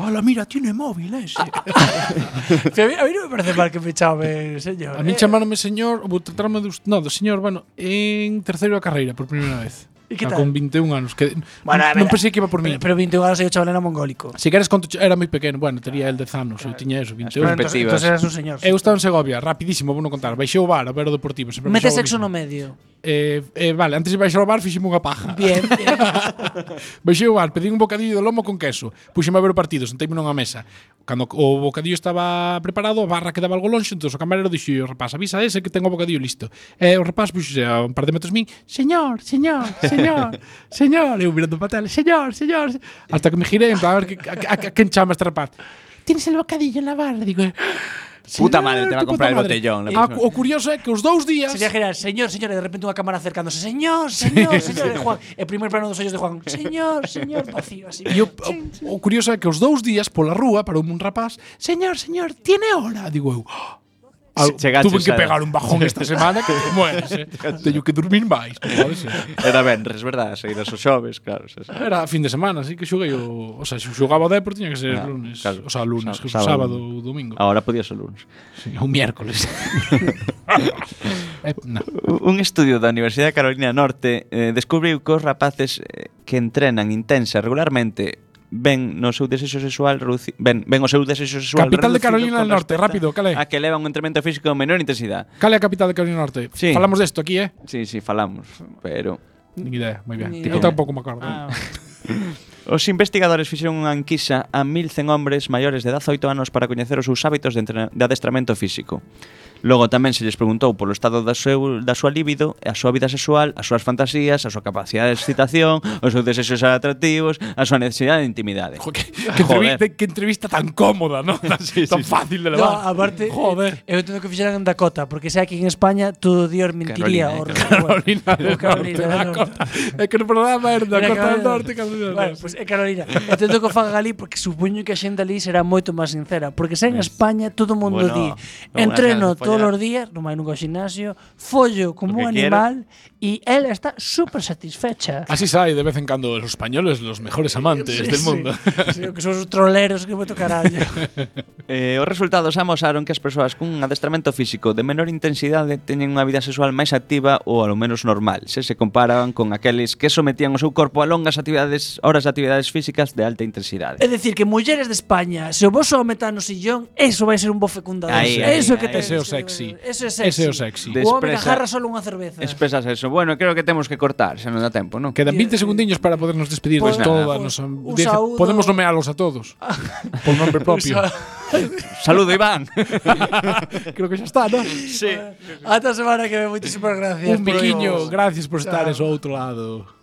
[SPEAKER 8] Hola, mira, tiene móvil ese.
[SPEAKER 1] a, mí, a mí non me parece mal que me chame, señor.
[SPEAKER 8] A mí
[SPEAKER 1] eh.
[SPEAKER 8] chamáronme señor, ou tratarme de no, do señor, bueno, en terceiro da carreira por primeira vez.
[SPEAKER 1] E que
[SPEAKER 8] Ah,
[SPEAKER 1] tal?
[SPEAKER 8] Con 21 anos, que
[SPEAKER 1] Bueno, a ver,
[SPEAKER 8] non pensei que iba por mí.
[SPEAKER 1] Pero 21 anos eu chaval era mongólico.
[SPEAKER 8] Si queres conto, era moi pequeno, bueno, tería el 10 anos, eu tiña eso, 21.
[SPEAKER 1] Bueno, entón- entón eras un señor.
[SPEAKER 8] Eu estaba en Segovia, rapidísimo, vou non contar, baixei o bar a ver o Deportivo. sempre
[SPEAKER 1] Mete
[SPEAKER 8] baixaba o
[SPEAKER 1] sexo
[SPEAKER 8] mismo.
[SPEAKER 1] no medio.
[SPEAKER 8] Eh, eh, vale, antes de baixar ao bar fixeme unha paja.
[SPEAKER 1] Bien, bien.
[SPEAKER 8] baixei ao bar, pedín un bocadillo de lomo con queso. Puxeme a ver o partido, senteime nunha mesa. Cando o bocadillo estaba preparado, a barra quedaba algo lonxe, entón o camarero dixo ao rapaz, avisa ese que tengo o bocadillo listo. E o rapaz puxose a un par de metros min, señor, señor, señor, señor, eu mirando para a tele, señor, señor, hasta que me girei, en plan, a ver que, a, a, a, quen chama este rapaz. Tienes el bocadillo en la barra, digo, eh,
[SPEAKER 9] Puta madre, te va a
[SPEAKER 8] puta
[SPEAKER 9] comprar el
[SPEAKER 8] madre.
[SPEAKER 9] botellón. la
[SPEAKER 8] Ah,
[SPEAKER 9] próxima.
[SPEAKER 8] o curioso é que os dous días
[SPEAKER 1] Sería general, señor, señor, e de repente unha cámara acercándose. Señor, señor, señor, de Juan. E primer plano dos ollos de Juan. Señor, señor, vacío, así.
[SPEAKER 8] E o, o, o curioso é que os dous días pola rúa para un rapaz, señor, señor, tiene hora, digo eu. "Ah,
[SPEAKER 9] Se- chegaches
[SPEAKER 8] tuve que
[SPEAKER 9] a-
[SPEAKER 8] pegar un bajón esta semana que te mueres, eh. Teño que dormir máis, como pode ser.
[SPEAKER 9] Era venres, verdad? Saídas os xoves, claro. xa sabes.
[SPEAKER 8] Era fin de semana, así que xoguei o, o sea, se xogaba o Depor tiña que ser
[SPEAKER 9] Ah,
[SPEAKER 8] lunes, o
[SPEAKER 9] claro.
[SPEAKER 8] sea, lunes,
[SPEAKER 9] Sá- Ah.
[SPEAKER 8] sábado, sábado ou domingo.
[SPEAKER 9] Ahora podía ser lunes.
[SPEAKER 8] Sí, ou miércoles. Eh, no.
[SPEAKER 9] Un estudio da Universidade de Carolina do Norte eh, descubriu que os rapaces eh, que entrenan intensa regularmente ven no seu desexo sexual reduci- ven, ven o seu desexo sexual
[SPEAKER 8] Capital de
[SPEAKER 9] reducido
[SPEAKER 8] Carolina
[SPEAKER 9] con
[SPEAKER 8] del Norte,
[SPEAKER 9] respecto
[SPEAKER 8] rápido, cal é?
[SPEAKER 9] A que leva un entrenamento físico de menor intensidade.
[SPEAKER 8] Cal é a capital de Carolina do Norte?
[SPEAKER 9] Sí.
[SPEAKER 8] Falamos desto aquí, eh?
[SPEAKER 9] Sí, sí, falamos, pero
[SPEAKER 8] Ni idea, moi ben.
[SPEAKER 9] Ni
[SPEAKER 8] Eu
[SPEAKER 9] idea.
[SPEAKER 8] tampouco me acordo.
[SPEAKER 9] Os investigadores fixeron unha enquisa a 1100 hombres maiores de 18 anos para coñecer os seus hábitos de, entrena- de adestramento físico. Logo tamén se lles preguntou polo estado da, seu, da súa libido, a súa vida sexual, as súas fantasías, a súa capacidade de excitación, os seus desexos atractivos, a súa necesidade de intimidade.
[SPEAKER 8] Que entrevista, que entrevista tan cómoda, ¿no? Tan, tan fácil de levar.
[SPEAKER 1] No, aparte, eh, Joder. eu entendo que fixeran en Dakota, porque se aquí en España todo Dios mentiría.
[SPEAKER 8] Carolina,
[SPEAKER 1] o-
[SPEAKER 8] Carolina
[SPEAKER 1] o
[SPEAKER 8] del
[SPEAKER 1] Carolina
[SPEAKER 8] Norte,
[SPEAKER 1] del
[SPEAKER 8] Dakota. É que no programa era
[SPEAKER 1] Era
[SPEAKER 8] Dakota
[SPEAKER 1] Carolina.
[SPEAKER 8] del Norte, Carolina del
[SPEAKER 1] Bueno,
[SPEAKER 8] Norte.
[SPEAKER 1] pois é Carolina. Entendo que o fagan ali porque supoño que a xente ali será moito máis sincera, porque se en España todo o mundo
[SPEAKER 9] Bueno,
[SPEAKER 1] di,
[SPEAKER 9] é unha
[SPEAKER 1] entreno
[SPEAKER 9] ganas de
[SPEAKER 1] todos
[SPEAKER 9] follar.
[SPEAKER 1] os días, non vai nunca ao gimnasio, follo como
[SPEAKER 8] que
[SPEAKER 1] un
[SPEAKER 8] quiero.
[SPEAKER 1] animal e ela está super satisfecha.
[SPEAKER 8] Así sai de vez en cuando los españoles los mejores amantes
[SPEAKER 1] Sí,
[SPEAKER 8] del
[SPEAKER 1] sí.
[SPEAKER 8] mundo.
[SPEAKER 1] Sí, que son os troleros que moito carallo.
[SPEAKER 9] Eh, os resultados amosaron que as persoas cun adestramento físico de menor intensidade teñen unha vida sexual máis activa ou ao menos normal, se se comparaban con aqueles que sometían o seu corpo a longas actividades, horas de actividades físicas de alta intensidade.
[SPEAKER 1] É dicir, que mulleres de España, se o vos home está no sillón, eso vai ser un bo fecundador.
[SPEAKER 9] Ahí, ahí,
[SPEAKER 1] eso é que
[SPEAKER 9] ahí.
[SPEAKER 1] tenes
[SPEAKER 9] Ese é o
[SPEAKER 1] que
[SPEAKER 9] sexy.
[SPEAKER 1] ver. Eso é sexy.
[SPEAKER 9] Ese é o sexy.
[SPEAKER 1] O home que
[SPEAKER 9] Despreza-
[SPEAKER 1] agarra solo unha cerveza.
[SPEAKER 9] Expresas eso. Bueno, creo que temos que cortar, xa non dá tempo, non?
[SPEAKER 8] Quedan 20 segundiños para podernos despedir
[SPEAKER 9] Pues
[SPEAKER 8] de
[SPEAKER 9] nada.
[SPEAKER 8] toda a nosa
[SPEAKER 1] Un
[SPEAKER 8] audiencia.
[SPEAKER 1] saúdo.
[SPEAKER 8] Podemos nomearlos a todos. por nombre propio.
[SPEAKER 1] Un
[SPEAKER 9] Saludo, Iván.
[SPEAKER 8] Creo que xa está, ¿no?
[SPEAKER 9] Sí.
[SPEAKER 1] Ata a semana que ve, moitísimas gracias.
[SPEAKER 8] Un
[SPEAKER 1] Proibos.
[SPEAKER 8] biquiño, gracias por estar
[SPEAKER 1] Chao.
[SPEAKER 8] eso outro lado.